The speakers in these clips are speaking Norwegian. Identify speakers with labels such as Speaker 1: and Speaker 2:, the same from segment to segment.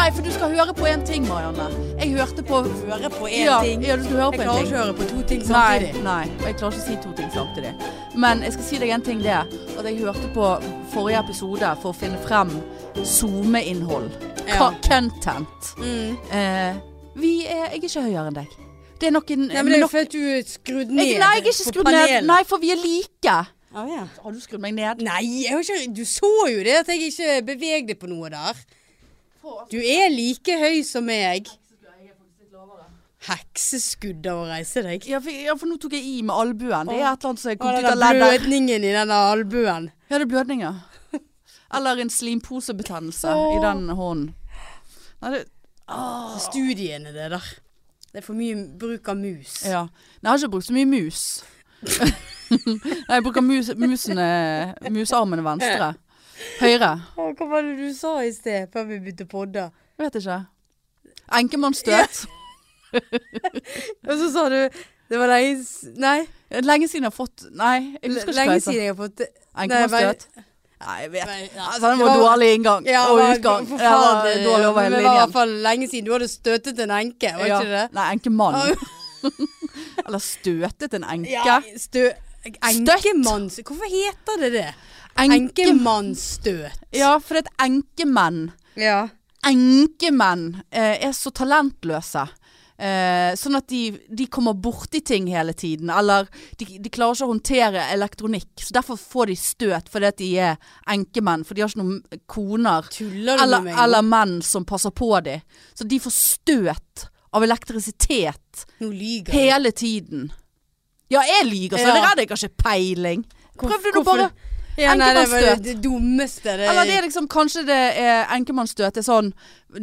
Speaker 1: høre på én ting, Marianne.
Speaker 2: Jeg hørte på høre på én
Speaker 1: ja,
Speaker 2: ting.
Speaker 1: Ja, du skulle høre
Speaker 2: Jeg
Speaker 1: på
Speaker 2: klarer
Speaker 1: en
Speaker 2: ikke
Speaker 1: ting.
Speaker 2: å høre på to ting
Speaker 1: Nei,
Speaker 2: samtidig.
Speaker 1: nei, og jeg klarer ikke å si to ting samtidig. Men jeg skal si deg en ting, det. er At jeg hørte på forrige episode for å finne frem SoMe-innhold.
Speaker 2: Ja.
Speaker 1: Ka- Content.
Speaker 2: Mm.
Speaker 1: Eh, vi er, jeg er ikke høyere enn deg. Det er noen
Speaker 2: Nei, men det er jo
Speaker 1: nok, jeg,
Speaker 2: fordi du er skrudd
Speaker 1: nei,
Speaker 2: ned.
Speaker 1: jeg er ikke
Speaker 2: på
Speaker 1: skrudd ned.
Speaker 2: panelet.
Speaker 1: Nei, for vi er like.
Speaker 2: Å, ja.
Speaker 1: Har du skrudd meg ned?
Speaker 2: Nei, jeg har ikke, du så jo det at jeg ikke bevegde på noe der. Du er like høy som meg. Hekseskudd av å reise deg.
Speaker 1: Ja for, ja, for nå tok jeg i med albuen. Det er et eller annet som er
Speaker 2: Og
Speaker 1: kommet
Speaker 2: den
Speaker 1: ut
Speaker 2: der
Speaker 1: av leddet.
Speaker 2: blødningen i denne albuen.
Speaker 1: Ja, det er blødninger. Eller en slimposebetennelse i
Speaker 2: Åh.
Speaker 1: den hånden. Nei, det,
Speaker 2: Studiene det der. Det er for mye bruk av mus.
Speaker 1: Ja. Nei, jeg har ikke brukt så mye mus. Nei, jeg bruker mus, musen, eh, musarmen venstre. Høyre.
Speaker 2: Å, Hva var det du sa i sted, før vi begynte å podde?
Speaker 1: Jeg vet ikke. Enkemannsstøt.
Speaker 2: Og så sa du Det var lenge s- Nei,
Speaker 1: Lenge siden jeg har fått Nei, jeg husker ikke hva
Speaker 2: lenge
Speaker 1: jeg sa.
Speaker 2: siden jeg har fått sånn
Speaker 1: Enkemannsstøt.
Speaker 2: Nei, jeg vet
Speaker 1: Altså, den var dårlig inngang
Speaker 2: Ja,
Speaker 1: og
Speaker 2: men
Speaker 1: utgang.
Speaker 2: for
Speaker 1: Det var
Speaker 2: faen,
Speaker 1: dårlig over
Speaker 2: men
Speaker 1: hele
Speaker 2: Det var i hvert
Speaker 1: linjen.
Speaker 2: fall lenge siden du hadde støtet en enke, var
Speaker 1: Ja.
Speaker 2: ikke det?
Speaker 1: Nei, enkemann. Eller støtet en enke.
Speaker 2: Ja, stø... Enkemanns... Hvorfor heter det det? Enkemannsstøt.
Speaker 1: Ja, for det er et enkemenn.
Speaker 2: Ja.
Speaker 1: enkemenn eh, er så talentløse. Eh, sånn at de, de kommer borti ting hele tiden. Eller de, de klarer ikke å håndtere elektronikk. Så derfor får de støt fordi at de er enkemenn. For de har ikke noen koner
Speaker 2: Tuller du
Speaker 1: eller,
Speaker 2: med meg?
Speaker 1: eller menn som passer på dem. Så de får støt av elektrisitet
Speaker 2: Nå lyger du.
Speaker 1: hele tiden. Ja, jeg lyver, så
Speaker 2: Ja.
Speaker 1: det redder jeg har ikke peiling.
Speaker 2: Hvor-
Speaker 1: Prøvde du
Speaker 2: hvorfor-
Speaker 1: bare
Speaker 2: Ja, nei, det var
Speaker 1: enkemannsstøt.
Speaker 2: det dummeste. Det,
Speaker 1: Eller det er liksom kanskje det er enkemannsstøt. Det er sånn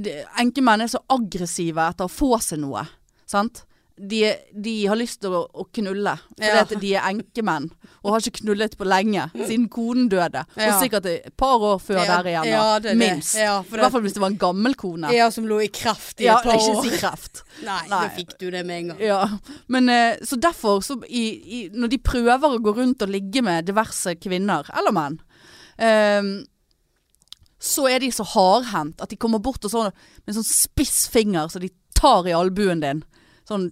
Speaker 1: det- Enkemenn er så aggressive etter å få seg noe. Sant? De, de har lyst til å, å knulle fordi
Speaker 2: Ja.
Speaker 1: at de er enkemenn og har ikke knullet på lenge siden konen døde.
Speaker 2: Ja.
Speaker 1: Og sikkert et par år før
Speaker 2: Ja,
Speaker 1: der igjen. da.
Speaker 2: ja, det er det.
Speaker 1: Minst.
Speaker 2: Ja, for
Speaker 1: I
Speaker 2: det-
Speaker 1: hvert fall hvis det var en gammel kone.
Speaker 2: Ja, som lå i kraft i
Speaker 1: Ja,
Speaker 2: et par
Speaker 1: ikke
Speaker 2: år.
Speaker 1: si kreft.
Speaker 2: Nei, nå
Speaker 1: Nei.
Speaker 2: fikk du det med en gang.
Speaker 1: Ja, men eh, så derfor så i, i, Når de prøver å gå rundt og ligge med diverse kvinner Eller menn ehm, Så er de så hardhendt At de kommer bort og sånn Med en sånn spiss finger Så de tar i albuen din Sånn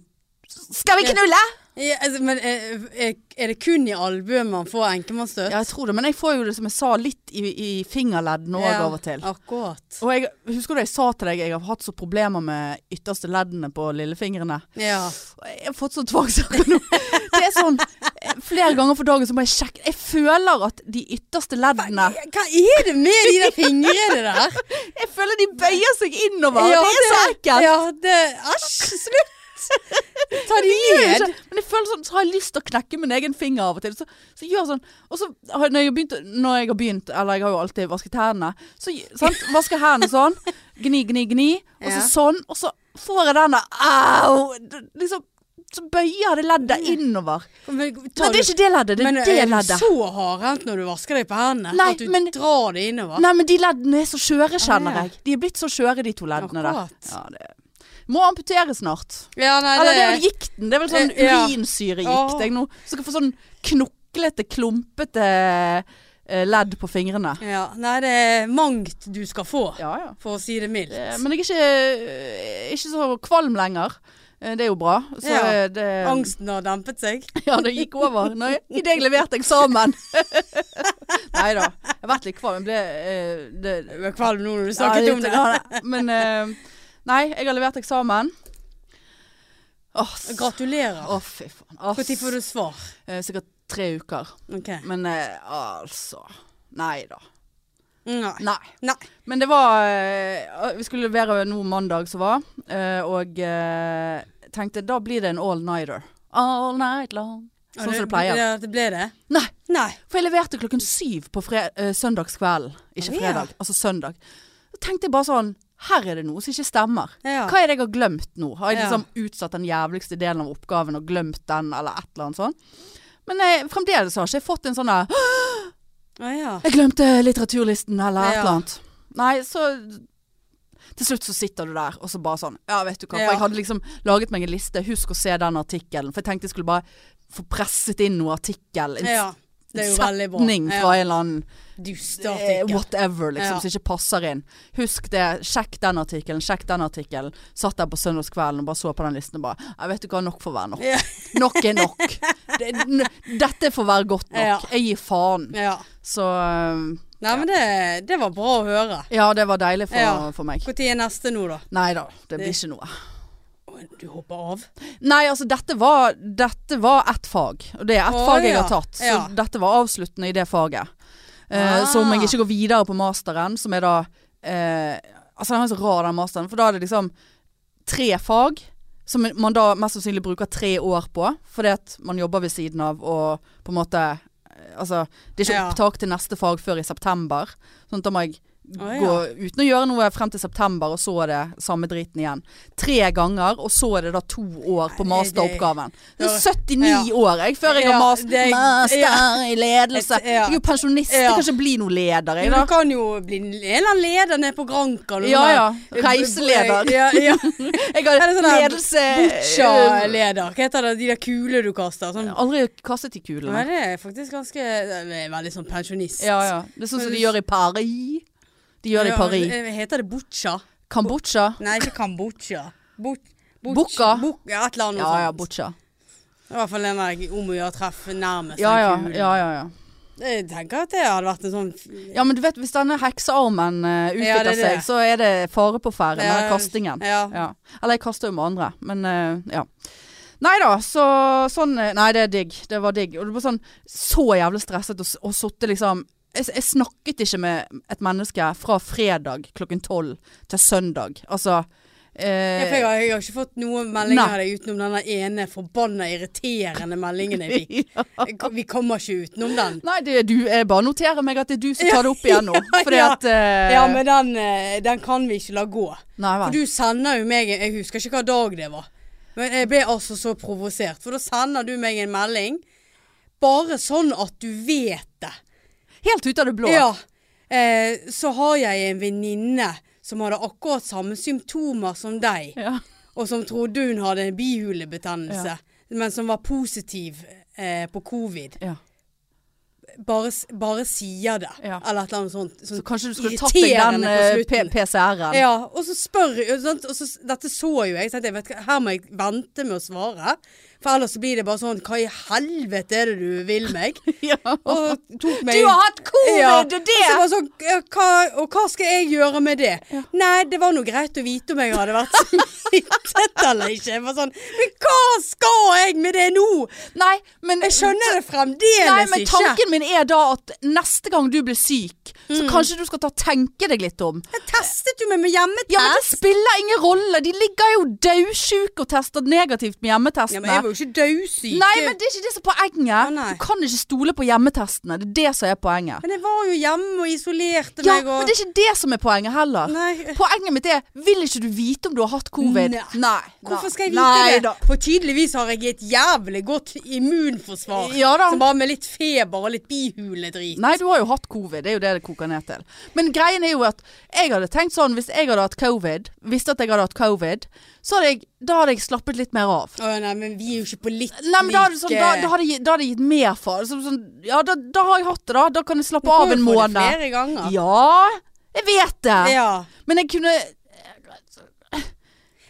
Speaker 1: Skal vi knulle?
Speaker 2: Ja, altså, men er, er- er det kun i albuen man får enkemannsstøt?
Speaker 1: Ja, jeg tror det Men jeg får jo det som jeg sa Litt i, i fingerledden også av og til
Speaker 2: Akkurat.
Speaker 1: Og jeg husker du jeg sa til deg Jeg har hatt så problemer med ytterste leddene på lillefingrene
Speaker 2: Ja.
Speaker 1: Jeg har fått sånn tvangssaker nå. Det er sånn eh, flere ganger for dagen så må jeg sjekke. Jeg føler at de ytterste leddene
Speaker 2: Hva er det med de der fingrene der?
Speaker 1: Jeg føler de bøyer seg innover.
Speaker 2: Ja,
Speaker 1: det er så ekkelt.
Speaker 2: Ja, det Æsj, slutt! Ta de
Speaker 1: Jeg gjør
Speaker 2: ned.
Speaker 1: ikke- Men jeg føler sånn, så har jeg lyst til å knekke min egen finger av og til. Så, så gjør jeg sånn. Og så har- når jeg, har begynt, når jeg har begynt, eller jeg har jo alltid vasket hendene, så sant? vasker hendene sånn, gni, gni, gni, og så
Speaker 2: Ja.
Speaker 1: sånn, og så får jeg den der, au, liksom, så bøyer det leddet innover.
Speaker 2: Men,
Speaker 1: Mm. Men eh, det er ikke det leddet, det
Speaker 2: men,
Speaker 1: er det
Speaker 2: er du
Speaker 1: leddet.
Speaker 2: så hardhendt når du vasker deg på hendene?
Speaker 1: Nei,
Speaker 2: at du
Speaker 1: men-
Speaker 2: drar det innover?
Speaker 1: Nei, men de leddene er så skjøre, kjenner
Speaker 2: Ah, ja.
Speaker 1: jeg. De er blitt så skjøre, de to leddene der.
Speaker 2: Akkurat.
Speaker 1: Ja, det må amputere snart.
Speaker 2: Ja, nei,
Speaker 1: Eller det er vel gikten. Det er vel sånn
Speaker 2: Eh, ja.
Speaker 1: urinsyregikt. Jeg nå skal få sånn knoklete, klumpete eh, ledd på fingrene.
Speaker 2: ja, nei, det er mangt du skal få,
Speaker 1: Ja, ja.
Speaker 2: for å si det mildt.
Speaker 1: Eh, Men jeg er ikke, eh, ikke så kvalm lenger. Eh, Det er jo bra. Så
Speaker 2: Ja.
Speaker 1: eh, det
Speaker 2: Angsten har dempet seg.
Speaker 1: Ja, det gikk over når jeg, i det jeg leverte eksamen. Nei da. Jeg har vært litt kvalm. Jeg ble eh, det,
Speaker 2: Jeg ble kvalm nå når du snakket
Speaker 1: Ja,
Speaker 2: om
Speaker 1: litt,
Speaker 2: det.
Speaker 1: ja, Men eh, Nei, jeg har levert eksamen. Åh, s-
Speaker 2: Gratulerer.
Speaker 1: Åh, fy faen. ass.
Speaker 2: Når får du svar?
Speaker 1: Eh, Sikkert tre uker.
Speaker 2: Ok.
Speaker 1: Men eh, altså Nei da.
Speaker 2: Nei.
Speaker 1: Nei.
Speaker 2: Nei.
Speaker 1: Men det var eh, Vi skulle levere nå mandag som var, eh, og eh, tenkte da blir det en all-nighter. All night long. Sånn som det pleier.
Speaker 2: Ja, det ble det?
Speaker 1: Nei.
Speaker 2: Nei.
Speaker 1: For jeg leverte klokken syv på fre eh, søndagskvelden. Ikke
Speaker 2: Å, ja.
Speaker 1: fredag, altså søndag. Så tenkte jeg bare sånn Her er det noe som ikke stemmer.
Speaker 2: Ja.
Speaker 1: Hva er det jeg har glemt nå? Har jeg
Speaker 2: Ja.
Speaker 1: liksom utsatt den jævligste delen av oppgaven og glemt den, eller et eller annet sånt? Men eh, fremdeles har ikke jeg fått en sånn der, «Åh,
Speaker 2: Å ja.
Speaker 1: Jeg glemte litteraturlisten, eller et
Speaker 2: Ja.
Speaker 1: eller annet. Nei, så til slutt så sitter du der, og så bare sånn Ja, vet du hva.
Speaker 2: Ja.
Speaker 1: For jeg hadde liksom laget meg en liste. Husk å se den artikkelen. For jeg tenkte jeg skulle bare få presset inn noe artikkel. En
Speaker 2: ja. Det er jo veldig bra.
Speaker 1: setning
Speaker 2: Ja.
Speaker 1: fra en eller annen
Speaker 2: Du starter
Speaker 1: eh,
Speaker 2: ikke.
Speaker 1: whatever, liksom,
Speaker 2: Ja.
Speaker 1: som ikke passer inn. Husk det. Sjekk den artikkelen, sjekk den artikkelen. Satt der på søndagskvelden og bare så på den listen og bare Jeg vet du hva, nok får være nok.
Speaker 2: Ja.
Speaker 1: Nok er nok. Det, n dette får være godt nok.
Speaker 2: Ja.
Speaker 1: Jeg gir faen.
Speaker 2: Ja.
Speaker 1: Så eh,
Speaker 2: Nei, men det, det var bra å høre.
Speaker 1: Ja, det var deilig for,
Speaker 2: Ja.
Speaker 1: for meg.
Speaker 2: Når er neste nå, da?
Speaker 1: Nei da, det blir
Speaker 2: Det-
Speaker 1: ikke noe.
Speaker 2: Å, Du hopper av?
Speaker 1: Nei, altså dette var, dette var ett fag. Og det er ett
Speaker 2: Å,
Speaker 1: fag jeg
Speaker 2: ja.
Speaker 1: har tatt. Så
Speaker 2: Ja.
Speaker 1: dette var avsluttende i det faget. Eh, Så om
Speaker 2: Ah.
Speaker 1: jeg ikke går videre på masteren, som er da eh, Altså den er så rar, den masteren. For da er det liksom tre fag som man da mest sannsynlig bruker tre år på. Fordi at man jobber ved siden av og på en måte eh, Altså, det er ikke
Speaker 2: Ja.
Speaker 1: opptak til neste fag før i september. Sånn at da må jeg
Speaker 2: Å,
Speaker 1: gå uten å gjøre noe frem til september, og så er det samme driten igjen. Tre ganger, og så er det da to år på
Speaker 2: Nei, det-
Speaker 1: masteroppgaven. Det er
Speaker 2: Ja.
Speaker 1: 79 år jeg, før jeg har
Speaker 2: Ja,
Speaker 1: mas
Speaker 2: det-
Speaker 1: master i ledelse.
Speaker 2: Et-
Speaker 1: Jeg
Speaker 2: ja.
Speaker 1: er jo pensjonist, jeg
Speaker 2: Ja.
Speaker 1: kan ikke bli noen leder, jeg
Speaker 2: Men
Speaker 1: da.
Speaker 2: du kan jo bli en eller annen leder nede på Granca. eller
Speaker 1: Ja,
Speaker 2: noe
Speaker 1: ja.
Speaker 2: der.
Speaker 1: Reiseleder.
Speaker 2: Ja, ja.
Speaker 1: Jeg har
Speaker 2: Er det sånn der
Speaker 1: ledelse Jeg
Speaker 2: Boccia-leder. Hva heter det, de der kulene du kaster? Sånn.
Speaker 1: har Aldri kastet i
Speaker 2: Nei,
Speaker 1: kulene.
Speaker 2: det er faktisk ganske det er Veldig sånn pensjonist.
Speaker 1: Ja, ja. Det er sånn som
Speaker 2: Men
Speaker 1: de
Speaker 2: du-
Speaker 1: gjør i Paris. De gjør det i Paris.
Speaker 2: Ja, eh, heter det Boccia?
Speaker 1: Kambodsja.
Speaker 2: Nei, ikke Kambodsja. Bok- bok-
Speaker 1: Bukka?
Speaker 2: bok- Ja, et eller annet.
Speaker 1: Ja, ja,
Speaker 2: sånt.
Speaker 1: botsja.
Speaker 2: Det er I hvert fall den der om å gjøre treff nærmest
Speaker 1: Ja, ja,
Speaker 2: den kulen.
Speaker 1: ja, ja, ja.
Speaker 2: Jeg tenker at det hadde vært en sånn
Speaker 1: Ja, men du vet, hvis denne heksearmen eh,
Speaker 2: Ja,
Speaker 1: utvikler
Speaker 2: det er
Speaker 1: seg,
Speaker 2: det.
Speaker 1: så er det fare på ferde med
Speaker 2: Ja,
Speaker 1: den kastingen.
Speaker 2: Ja.
Speaker 1: Ja. Eller jeg kaster jo med andre, men eh, ja. Nei da, så sånn eh, Nei, det er digg. Det var digg. Og det var sånn så jævlig stresset og, s- og sittet liksom jeg, jeg snakket ikke med et menneske fra fredag klokken tolv til søndag. Altså
Speaker 2: Ja, for
Speaker 1: eh,
Speaker 2: jeg, har, jeg har ikke fått noen meldinger
Speaker 1: Nei.
Speaker 2: av deg utenom den der ene forbanna irriterende meldingen jeg fikk. Jeg kom- Vi kommer ikke utenom den.
Speaker 1: eh, Nei, det er du. Jeg bare noterer meg at det er du som tar det opp igjen nå.
Speaker 2: ja,
Speaker 1: Fordi
Speaker 2: ja.
Speaker 1: at eh,
Speaker 2: Ja, men den, eh, den kan vi ikke la gå.
Speaker 1: Nei
Speaker 2: For
Speaker 1: vel.
Speaker 2: du sender jo meg Jeg husker ikke hva dag det var. Men jeg ble altså så provosert. For da sender du meg en melding. Bare sånn at du vet det.
Speaker 1: Helt ut av det blå.
Speaker 2: Ja. Eh, så har jeg en venninne som hadde akkurat samme symptomer som deg.
Speaker 1: Ja.
Speaker 2: og som trodde hun hadde en bihulebetennelse,
Speaker 1: Ja.
Speaker 2: men som var positiv eh, på covid,
Speaker 1: ja.
Speaker 2: bare, s- bare sier det.
Speaker 1: Ja.
Speaker 2: Eller et eller annet sånt. sånt
Speaker 1: Så kanskje du skulle tatt deg den
Speaker 2: irriterende
Speaker 1: eh,
Speaker 2: på
Speaker 1: P-
Speaker 2: slutten.
Speaker 1: PCR-en.
Speaker 2: Ja, og så spør og sånt, og så, s- Dette så jo jeg. Så jeg tenkte, vet, du hva, her må jeg vente med å svare. For ellers så blir det bare sånn Hva i helvete er det du vil meg?
Speaker 1: Ja.
Speaker 2: Og tok meg
Speaker 1: Du har hatt covid,
Speaker 2: Ja.
Speaker 1: det er det!
Speaker 2: Og så bare sånn, «Ja, hva, og hva skal jeg gjøre med det? Nei, det var nå greit å vite om jeg hadde vært smittet eller ikke. Jeg var sånn, men hva skal jeg med det nå?
Speaker 1: Nei, men
Speaker 2: Jeg skjønner det fremdeles
Speaker 1: Nei, men
Speaker 2: ikke.
Speaker 1: tanken min er da at neste gang du blir syk, så
Speaker 2: Mm.
Speaker 1: kanskje du skal ta og tenke deg litt om.
Speaker 2: Jeg testet jo meg med hjemmetest.
Speaker 1: Ja, men det spiller ingen rolle. De ligger jo daudsjuke og tester negativt med
Speaker 2: Ja,
Speaker 1: hjemmetestene.
Speaker 2: men jeg var jo ikke dødsyk.
Speaker 1: Nei, men det er ikke det som er poenget.
Speaker 2: nei.
Speaker 1: du kan ikke stole på hjemmetestene. Det er det som er poenget.
Speaker 2: Men jeg var jo hjemme og isolerte
Speaker 1: Ja,
Speaker 2: meg. Og...
Speaker 1: men det er ikke det som er poenget heller.
Speaker 2: Nei.
Speaker 1: Poenget mitt er, vil ikke du vite om du har hatt covid?
Speaker 2: Nei.
Speaker 1: Nei.
Speaker 2: Hvorfor skal jeg vite
Speaker 1: Nei,
Speaker 2: det?
Speaker 1: da.
Speaker 2: For tydeligvis har jeg et jævlig godt immunforsvar.
Speaker 1: Ja da.
Speaker 2: Som bare med litt feber og litt bihuledrit.
Speaker 1: Nei, du har jo hatt covid. Det er jo det det koker ned til. Men greien er jo at jeg hadde tenkt sånn hvis jeg hadde hatt covid, visste at jeg hadde hatt covid, så hadde jeg, da hadde jeg slappet litt mer av.
Speaker 2: Å, nei, men vi er jo ikke på litt
Speaker 1: Nei, men da, hadde det sånn, da, da, hadde, jeg- da hadde jeg gitt mer for det. Sånn- sånn, ja, da, da har jeg hatt det, da. Da kan jeg slappe av en
Speaker 2: Du får jo
Speaker 1: måned.
Speaker 2: flere ganger.
Speaker 1: Ja, jeg vet det.
Speaker 2: Ja.
Speaker 1: Men jeg kunne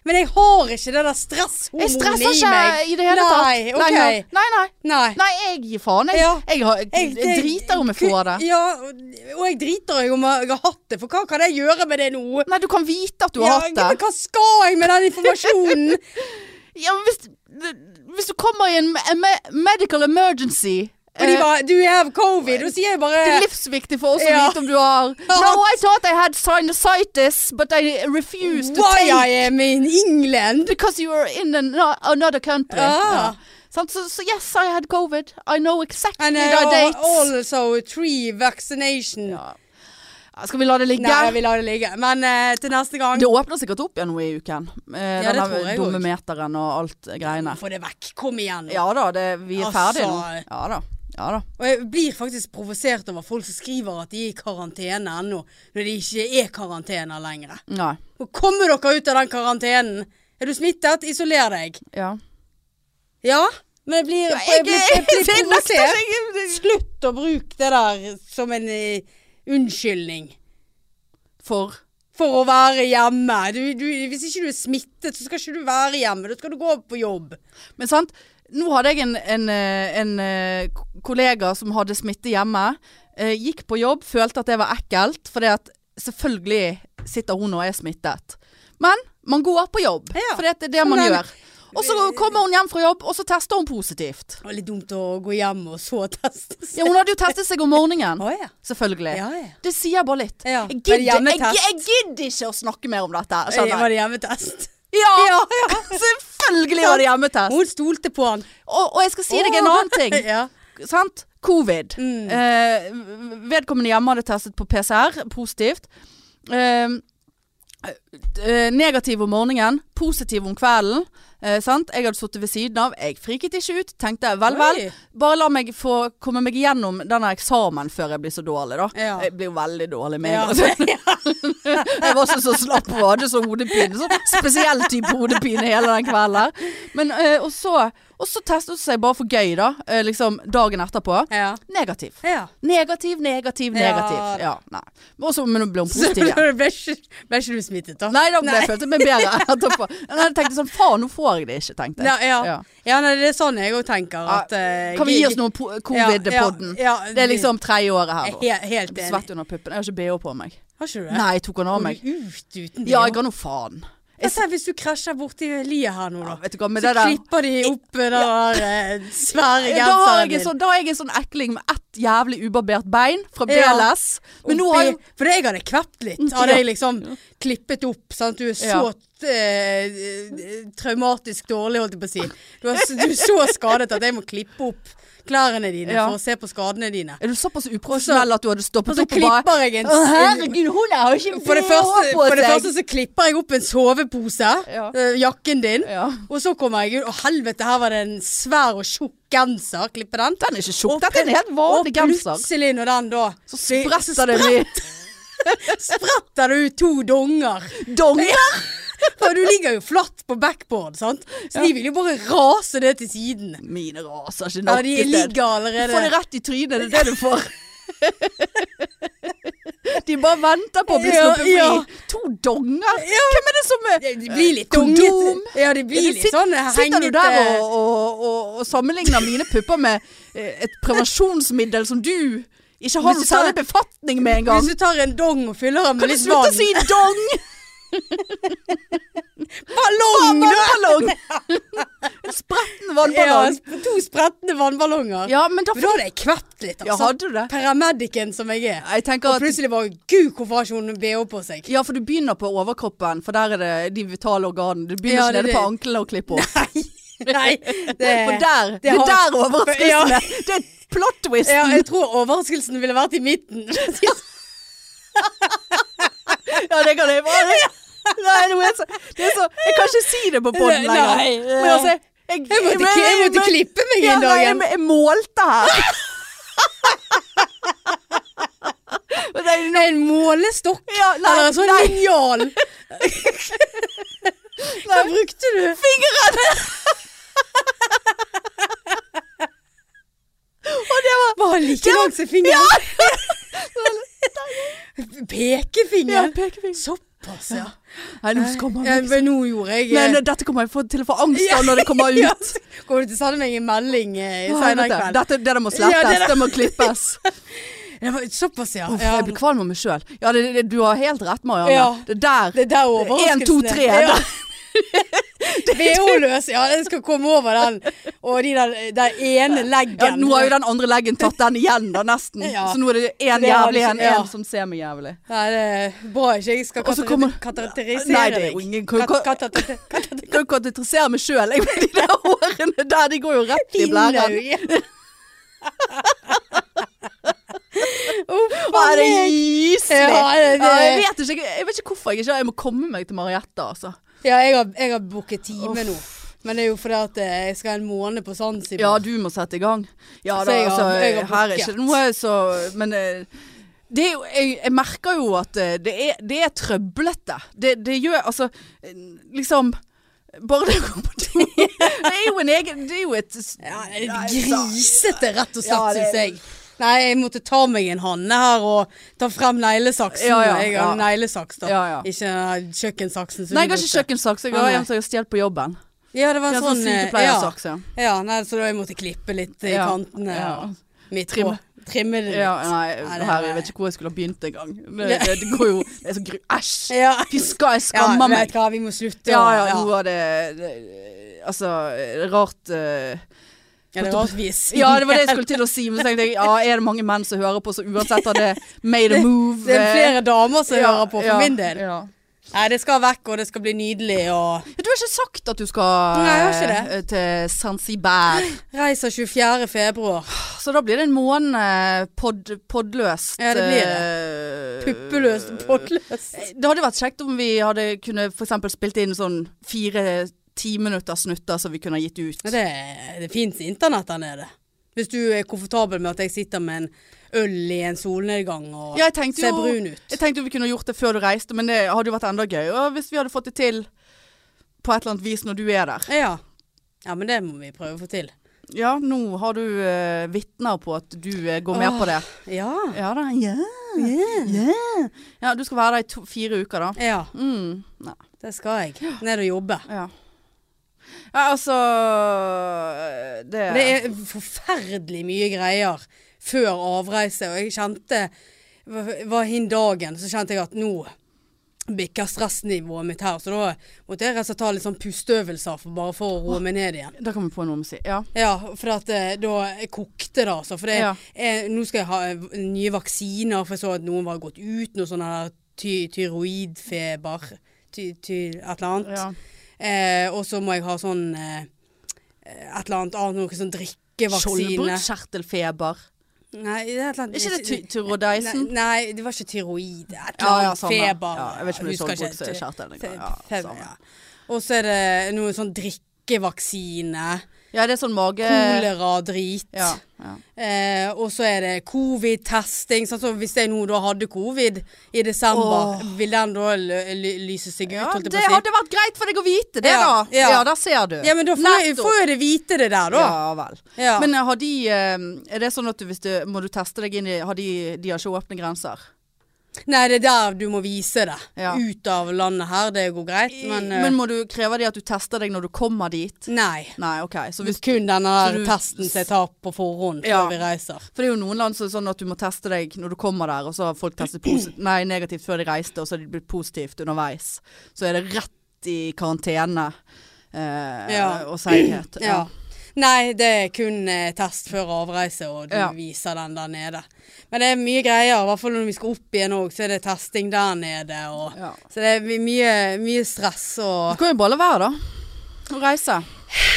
Speaker 2: Men jeg har ikke det der stresshormonet
Speaker 1: Jeg
Speaker 2: i meg.
Speaker 1: stresser ikke i det hele
Speaker 2: Nei,
Speaker 1: tatt.
Speaker 2: ok.
Speaker 1: Nei, nei. nei.
Speaker 2: Nei.
Speaker 1: Nei, jeg gir faen. Jeg,
Speaker 2: Ja.
Speaker 1: jeg, har, jeg,
Speaker 2: Jeg-
Speaker 1: jeg driter om jeg får det.
Speaker 2: Ja, og og jeg driter i om jeg har hatt det, for hva kan jeg gjøre med det nå?
Speaker 1: Nei, du kan vite at du har hatt det.
Speaker 2: Men hva skal jeg med den informasjonen?
Speaker 1: Ja, men hvis, hvis du kommer i en, en me- medical emergency
Speaker 2: Og de
Speaker 1: eh,
Speaker 2: bare 'Do you have covid?' Og sier jeg bare
Speaker 1: Det er livsviktig for oss å
Speaker 2: Ja.
Speaker 1: vite om du har No, I thought I had sinusitis, but I refuse to
Speaker 2: Why
Speaker 1: take
Speaker 2: I am in England?
Speaker 1: Because you are in an, another country.
Speaker 2: Ah.
Speaker 1: Sant? Så, så yes, I had covid. I know exactly
Speaker 2: And uh,
Speaker 1: the dates.
Speaker 2: also three vaccination.
Speaker 1: Ja. Ja, Skal vi la det ligge?
Speaker 2: Nei, jeg vil la det ligge. Men eh, til neste gang
Speaker 1: det åpner sikkert opp igjen nå i uken. Eh,
Speaker 2: Ja, det
Speaker 1: denne
Speaker 2: tror jeg
Speaker 1: dumme
Speaker 2: også.
Speaker 1: meteren og alt greiene.
Speaker 2: Få det vekk. Kom igjen.
Speaker 1: Ja da, det, vi er
Speaker 2: Altså.
Speaker 1: ferdige nå. Ja da. Ja da.
Speaker 2: Og jeg blir faktisk provosert over folk som skriver at de er i karantene ennå, når de ikke er karantene lenger.
Speaker 1: Nei.
Speaker 2: Og kommer dere ut av den karantenen? Er du smittet? Isoler deg.
Speaker 1: Ja.
Speaker 2: Ja? Men jeg blir,
Speaker 1: Jeg,
Speaker 2: jeg blir, jeg blir
Speaker 1: jeg nekter
Speaker 2: provosert.
Speaker 1: ikke-
Speaker 2: Slutt å bruke det der som en eh, unnskyldning
Speaker 1: For
Speaker 2: for å være hjemme. Du, du, hvis ikke du er smittet, så skal ikke du være hjemme. Da skal du gå på jobb.
Speaker 1: Men sant, nå hadde jeg en, en, eh, en eh, k- kollega som hadde smitte hjemme. eh, Gikk på jobb, følte at det var ekkelt, fordi at selvfølgelig sitter hun og er smittet. Men man går på jobb,
Speaker 2: Ja.
Speaker 1: fordi at det er det man
Speaker 2: den-
Speaker 1: gjør. Og så kommer hun hjem fra jobb, og så tester hun positivt.
Speaker 2: Det var litt dumt å gå hjem og så teste seg.
Speaker 1: Ja, hun hadde jo testet seg om morgenen.
Speaker 2: Å, ja.
Speaker 1: Selvfølgelig.
Speaker 2: Ja, ja.
Speaker 1: Det sier bare litt.
Speaker 2: Ja.
Speaker 1: Jeg,
Speaker 2: Var
Speaker 1: gidder,
Speaker 2: det
Speaker 1: jeg,
Speaker 2: hjemmetest?
Speaker 1: jeg gidder ikke å snakke mer om dette.
Speaker 2: Eh, Var
Speaker 1: Skjønner jeg.
Speaker 2: det hjemmetest?
Speaker 1: Ja,
Speaker 2: Ja,
Speaker 1: selvfølgelig var det hjemmetest.
Speaker 2: Hun stolte på han.
Speaker 1: Og, og jeg skal si deg en
Speaker 2: Åh.
Speaker 1: annen ting.
Speaker 2: Ja. Mm.
Speaker 1: sant? Covid. Eh, vedkommende hjemme hadde testet på PCR, positivt. Eh, eh, negativ om morgenen, positiv om kvelden. Eh, sant? Jeg hadde sittet ved siden av, jeg friket ikke ut. Tenkte vel, vel,
Speaker 2: Oi.
Speaker 1: bare la meg få komme meg gjennom denne eksamen før jeg blir så dårlig, da.
Speaker 2: Ja.
Speaker 1: Jeg blir jo veldig dårlig med altså.
Speaker 2: Ja.
Speaker 1: en gang. Jeg var så, så slapp og hadde så hodepine. Sånn spesiell type hodepine hele den kvelden. her. Men, eh, og så, og så testet hun seg bare for gøy, da. eh, liksom dagen etterpå.
Speaker 2: Ja.
Speaker 1: Negativ.
Speaker 2: ja.
Speaker 1: Negativ, negativ, negativ.
Speaker 2: Ja.
Speaker 1: Ja, nei. Og så- men hun ble hun
Speaker 2: Så
Speaker 1: positiv igjen.
Speaker 2: ble ikke, ble ikke du smittet, da?
Speaker 1: Nei, da ble jeg følte meg bedre etterpå. Men jeg tenkte sånn, faen, nå får jeg det ikke, tenkte jeg.
Speaker 2: Ja, ja.
Speaker 1: Ja.
Speaker 2: ja nei, det er sånn jeg òg tenker. At, eh,
Speaker 1: Kan vi gi
Speaker 2: jeg-
Speaker 1: oss noe po- covid-podden?
Speaker 2: Ja, ja,
Speaker 1: Det er liksom tredje året her. nå.
Speaker 2: Jeg er he- Helt enig.
Speaker 1: Svett under puppene. Jeg har ikke BH på meg.
Speaker 2: Har ikke du det?
Speaker 1: Nei, jeg tok han av
Speaker 2: Går
Speaker 1: meg.
Speaker 2: du ut uten det?
Speaker 1: Ja, jeg ga nå faen.
Speaker 2: Jeg ser hvis du krasjer borti liet her nå, da.
Speaker 1: Vet du hva, med
Speaker 2: Så
Speaker 1: det der
Speaker 2: klipper de opp eh, den der eh, svære
Speaker 1: Da har
Speaker 2: genseren
Speaker 1: jeg en
Speaker 2: din.
Speaker 1: sånn, da har jeg en sånn ekling med ett jævlig ubarbert bein fra BLS. Men nå har jeg
Speaker 2: Oppi- For jeg hadde kvept litt.
Speaker 1: Mm, Ja.
Speaker 2: Hadde jeg liksom klippet opp. Sant? Du er så
Speaker 1: Ja.
Speaker 2: eh, traumatisk dårlig, holdt jeg på å si. Du er, s- du er så skadet at jeg må klippe opp klærne dine
Speaker 1: Ja.
Speaker 2: for å se på skadene dine.
Speaker 1: Er du såpass uprofesjonell at du hadde
Speaker 2: Og
Speaker 1: stoppet
Speaker 2: så
Speaker 1: opp og bare
Speaker 2: klipper jeg en
Speaker 1: Å, herregud, hun har jo ikke
Speaker 2: For det, første, for det første så klipper jeg opp en sovepose,
Speaker 1: Ja.
Speaker 2: eh, jakken din,
Speaker 1: Ja.
Speaker 2: og så kommer jeg ut, og helvete, her var det en svær og tjukk genser, klippe den.
Speaker 1: Den er ikke tjukk,
Speaker 2: Og
Speaker 1: dette er en helt vanlig
Speaker 2: Og
Speaker 1: genser.
Speaker 2: plutselig når den da,
Speaker 1: Så
Speaker 2: blir-
Speaker 1: spretter det mye
Speaker 2: spretter det ut to donger.
Speaker 1: donger.
Speaker 2: For du ligger jo flatt på backboard, sant? Så de vil jo bare rase det til siden.
Speaker 1: Mine raser ikke
Speaker 2: Ja,
Speaker 1: nok
Speaker 2: de
Speaker 1: i sted.
Speaker 2: ligger
Speaker 1: Du får det
Speaker 2: allerede.
Speaker 1: rett i trynet, det er det du får. De bare venter på å bli
Speaker 2: Ja,
Speaker 1: sluppet fri.
Speaker 2: ja.
Speaker 1: To donger? Hvem er det som er
Speaker 2: De de blir litt
Speaker 1: Kondom.
Speaker 2: dongete. Ja, de blir litt
Speaker 1: Sitt-
Speaker 2: sånn eh,
Speaker 1: Sitter du
Speaker 2: hengete.
Speaker 1: der og, og, og, og sammenligner mine pupper med eh, et prevensjonsmiddel som du ikke har noen
Speaker 2: Hvis du tar-
Speaker 1: særlig befatning med engang?
Speaker 2: Hvis du tar en dong og fyller den med
Speaker 1: Kan du
Speaker 2: litt
Speaker 1: slutte
Speaker 2: vann
Speaker 1: å si dong?
Speaker 2: Ballong! da!
Speaker 1: Vannballong! En spretten
Speaker 2: Ja,
Speaker 1: vannballong.
Speaker 2: sp- to spretne vannballonger.
Speaker 1: Ja, men da
Speaker 2: Men da hadde jeg kvept litt,
Speaker 1: Ja,
Speaker 2: altså.
Speaker 1: hadde du det?
Speaker 2: Paramedicen som jeg er.
Speaker 1: Jeg
Speaker 2: Og
Speaker 1: tenker at
Speaker 2: plutselig bare Gud, hvorfor har ikke hun BH på seg?
Speaker 1: ja, for du begynner på overkroppen, for der er det de vitale organene. Du
Speaker 2: Ja,
Speaker 1: begynner ikke
Speaker 2: det er
Speaker 1: nede på
Speaker 2: det.
Speaker 1: anklene og klipper opp.
Speaker 2: Nei. Nei.
Speaker 1: For
Speaker 2: Det,
Speaker 1: der, det,
Speaker 2: har-
Speaker 1: er der overraskelsen
Speaker 2: Ja.
Speaker 1: er. Det er plot twist.
Speaker 2: ja, jeg tror overraskelsen ville vært i midten.
Speaker 1: Ja, det kan jeg bare Nei, nå er jeg så, det er så Jeg kan ikke si det på poden
Speaker 2: Nei,
Speaker 1: lenger.
Speaker 2: nei.
Speaker 1: Men altså Jeg,
Speaker 2: Jeg måtte,
Speaker 1: men-
Speaker 2: jeg måtte
Speaker 1: men-
Speaker 2: klippe meg
Speaker 1: ja,
Speaker 2: en
Speaker 1: nei,
Speaker 2: dag.
Speaker 1: jeg,
Speaker 2: igjen.
Speaker 1: jeg målte her. Og det er
Speaker 2: En målestokk
Speaker 1: Ja, nei,
Speaker 2: eller en sånn
Speaker 1: nei.
Speaker 2: linjal. Hva brukte du?
Speaker 1: Og det var
Speaker 2: Var han like
Speaker 1: Ja.
Speaker 2: lang som fingeren? Pekefingeren?
Speaker 1: Ja, pekefinger.
Speaker 2: Såpass, ja.
Speaker 1: Nei, nå skammer
Speaker 2: Ja,
Speaker 1: jeg meg.
Speaker 2: men nå gjorde jeg eh,
Speaker 1: Men eh, dette kommer jeg få- til å få angst av når det kommer
Speaker 2: Ja,
Speaker 1: ut.
Speaker 2: så Kommer du til å sende meg en melding eh,
Speaker 1: Å,
Speaker 2: senere i
Speaker 1: helvete.
Speaker 2: kveld?
Speaker 1: Dette, det der må
Speaker 2: Ja, det
Speaker 1: slettes,
Speaker 2: der-
Speaker 1: det må klippes.
Speaker 2: Det var såpass, ja.
Speaker 1: Uff,
Speaker 2: ja.
Speaker 1: Jeg blir kvalm av meg sjøl. Ja, det, det, du har helt rett, Marianne.
Speaker 2: Ja.
Speaker 1: Det der
Speaker 2: Det der overraskelsen.
Speaker 1: Én, to, tre.
Speaker 2: Ja.
Speaker 1: der.
Speaker 2: VO-løs. Ja, jeg skal komme over den. Og de der, der ene leggen.
Speaker 1: Ja, nå har jo den andre leggen tatt den igjen, da, nesten.
Speaker 2: Ja.
Speaker 1: Så nå er det én
Speaker 2: Det har
Speaker 1: jævlig
Speaker 2: det
Speaker 1: igjen,
Speaker 2: ikke- ja.
Speaker 1: en som ser meg jævlig.
Speaker 2: Nei, det er eh, bra ikke jeg skal
Speaker 1: Og så
Speaker 2: kater-
Speaker 1: kommer-
Speaker 2: kateterisere
Speaker 1: Nei, det er jo
Speaker 2: deg.
Speaker 1: ingen-
Speaker 2: Kat- kater- kater-
Speaker 1: Jeg kan jo konsentrere meg sjøl, jeg, med de der hårene der. De går jo rett i blæren.
Speaker 2: Pinneøye. Uff,
Speaker 1: Å, er det
Speaker 2: meg.
Speaker 1: gyselig?
Speaker 2: Ja, det,
Speaker 1: Ja, jeg
Speaker 2: det.
Speaker 1: vet ikke, jeg- jeg vet ikke hvorfor jeg ikke Jeg må komme meg til Mariette, altså.
Speaker 2: ja jeg har, jeg har booket time
Speaker 1: Uff.
Speaker 2: nå. Men det er jo fordi at eh, jeg skal en måned på Zanzibar.
Speaker 1: Ja, du må sette i gang. Ja
Speaker 2: Så
Speaker 1: da,
Speaker 2: jeg har-
Speaker 1: altså.
Speaker 2: jeg har
Speaker 1: Her er
Speaker 2: booket.
Speaker 1: ikke noe så Men eh, det er jo, jeg, jeg merker jo at eh, det er, det er trøblete. Det, det gjør altså eh, Liksom Bare det å gå på do. Det er jo en egen Det er jo et
Speaker 2: Ja, det
Speaker 1: Nei,
Speaker 2: er
Speaker 1: da-
Speaker 2: grisete, rett og slett,
Speaker 1: Ja, det-
Speaker 2: syns jeg. Nei, jeg måtte ta meg en hanne her og ta frem neglesaksen.
Speaker 1: Ja, ja,
Speaker 2: jeg
Speaker 1: ja.
Speaker 2: har neglesaks, da.
Speaker 1: Ja, ja.
Speaker 2: Ikke den der kjøkkensaksen. som
Speaker 1: Nei,
Speaker 2: du
Speaker 1: jeg har ikke
Speaker 2: brukte.
Speaker 1: kjøkkensaks. Jeg
Speaker 2: Ah,
Speaker 1: har
Speaker 2: nei.
Speaker 1: en som jeg har stjålet på jobben.
Speaker 2: Ja, det var
Speaker 1: Det er
Speaker 2: en
Speaker 1: en sånn
Speaker 2: sånn eh,
Speaker 1: sykepleiersaks, ja.
Speaker 2: Ja. ja, nei, så da jeg måtte klippe litt i
Speaker 1: Ja,
Speaker 2: kantene.
Speaker 1: ja.
Speaker 2: og Midt på.
Speaker 1: Trimme.
Speaker 2: Trimme det litt.
Speaker 1: ja. Nei,
Speaker 2: Nei, det-
Speaker 1: her, jeg vet ikke hvor jeg skulle ha begynt engang. Det, det, det går jo Det er så gru... Æsj!
Speaker 2: Ja.
Speaker 1: Fy skal, jeg
Speaker 2: Ja,
Speaker 1: skammer meg.
Speaker 2: Vet hva, vi må slutte.
Speaker 1: Ja,
Speaker 2: å-
Speaker 1: ja, nå var det, det Altså, rart eh,
Speaker 2: Ja, det var at vi er svin.
Speaker 1: Ja, det var det jeg skulle til å si, men så tenkte jeg ja, er det mange menn som hører på, så uansett har det made a move. eh,
Speaker 2: Det er flere damer som
Speaker 1: Ja,
Speaker 2: hører på, for
Speaker 1: ja,
Speaker 2: min del.
Speaker 1: Ja.
Speaker 2: Nei, det skal vekk, og det skal bli nydelig, og
Speaker 1: Du har ikke sagt at du skal
Speaker 2: Nei, jeg har ikke det.
Speaker 1: eh, til Zanzibar.
Speaker 2: reiser 24. februar.
Speaker 1: Så da blir det en måned eh, pod, podløst. eh,
Speaker 2: Ja, det blir
Speaker 1: det.
Speaker 2: Puppeløst og pottløst.
Speaker 1: Det hadde vært kjekt om vi hadde kunne for eksempel spilt inn sånn fire timinutters snutter som vi kunne ha gitt ut.
Speaker 2: Ja, Det, det fins internett der nede. Hvis du er komfortabel med at jeg sitter med en øl i en solnedgang og
Speaker 1: Ja, jeg tenkte
Speaker 2: ser
Speaker 1: jo-
Speaker 2: brun ut.
Speaker 1: Jeg tenkte jo vi kunne gjort det før du reiste, men det hadde jo vært enda gøy. Og hvis vi hadde fått det til på et eller annet vis når du er der.
Speaker 2: Ja. ja, men det må vi prøve å få til.
Speaker 1: Ja, nå har du uh, vitner på at du eh, går med
Speaker 2: Åh.
Speaker 1: på det.
Speaker 2: Ja.
Speaker 1: Ja da. Ja. ja. ja du skal være der i to, fire uker, da.
Speaker 2: ja.
Speaker 1: Mm. Nei.
Speaker 2: Det skal jeg. Ned og jobbe.
Speaker 1: Ja. ja, altså eh, Det,
Speaker 2: Det er forferdelig mye greier før avreise, og jeg kjente Var hin dagen, så kjente jeg at nå bikker stressnivået mitt her. Så da måtte jeg rett og slett ta litt sånn pusteøvelser for, bare for å roe meg ned igjen.
Speaker 1: Da kom vi på noe musikk. Ja.
Speaker 2: Ja, for at eh, da jeg kokte det, altså. For det,
Speaker 1: Ja.
Speaker 2: eh, nå skal jeg ha eh, nye vaksiner, for jeg så at noen var gått ut, noe sånn her ty tyroidfeber, ty, ty, et eller annet.
Speaker 1: ja.
Speaker 2: Eh, og så må jeg ha sånn eh, et eller annet annet, noe sånn drikkevaksine.
Speaker 1: Skjoldbruskkjertelfeber.
Speaker 2: Nei, det er et eller annet.
Speaker 1: Er ikke det ty tyrodeisen?
Speaker 2: Nei, nei, det var ikke tyroid. Et eller
Speaker 1: Ja, ja,
Speaker 2: annet
Speaker 1: samme.
Speaker 2: feber.
Speaker 1: Ja, jeg vet ikke om det er
Speaker 2: Husker
Speaker 1: skjoldbruskkjertel engang.
Speaker 2: Fe-
Speaker 1: Ja,
Speaker 2: feber,
Speaker 1: samme.
Speaker 2: ja. Og så er det noe sånn drikkevaksine.
Speaker 1: Ja, det er sånn mage...
Speaker 2: Koleradrit.
Speaker 1: Ja, ja.
Speaker 2: Eh, og så er det covid-testing. sånn, Så hvis jeg nå da hadde covid i desember,
Speaker 1: Åh.
Speaker 2: vil den da lø- ly- lyse seg ut?
Speaker 1: ja,
Speaker 2: holdt jeg på
Speaker 1: det
Speaker 2: å si?
Speaker 1: hadde vært greit for deg å vite det,
Speaker 2: Ja,
Speaker 1: da. Ja,
Speaker 2: ja.
Speaker 1: der ser du.
Speaker 2: ja, men da får jeg, får jeg det vite det der, da.
Speaker 1: Ja vel.
Speaker 2: Ja.
Speaker 1: Men eh, har de eh, Er det sånn at du, hvis du må du teste deg inn i Har de, de har ikke åpne grenser?
Speaker 2: Nei, det er der du må vise det.
Speaker 1: Ja.
Speaker 2: Ut av landet her, det går greit, men, eh,
Speaker 1: må du kreve de at du tester deg når du kommer dit?
Speaker 2: Nei.
Speaker 1: Nei, OK. Så hvis,
Speaker 2: Kun denne
Speaker 1: Så du-
Speaker 2: testen som jeg tar på forhånd før
Speaker 1: Ja.
Speaker 2: vi reiser.
Speaker 1: for det er jo noen land som er sånn at du må teste deg når du kommer der, og så har folk testet posi- nei, negativt før de reiste, og så har de blitt positivt underveis. Så er det rett i karantene eh,
Speaker 2: Ja.
Speaker 1: og seighet.
Speaker 2: Ja. Nei, det er kun eh, test før avreise, og du
Speaker 1: Ja.
Speaker 2: viser den der nede. Men det er mye greier, i hvert fall når vi skal opp igjen òg, så er det testing der nede. Og,
Speaker 1: Ja.
Speaker 2: Så det er my- mye, mye stress og
Speaker 1: Du kan jo bare la være, da. Å reise.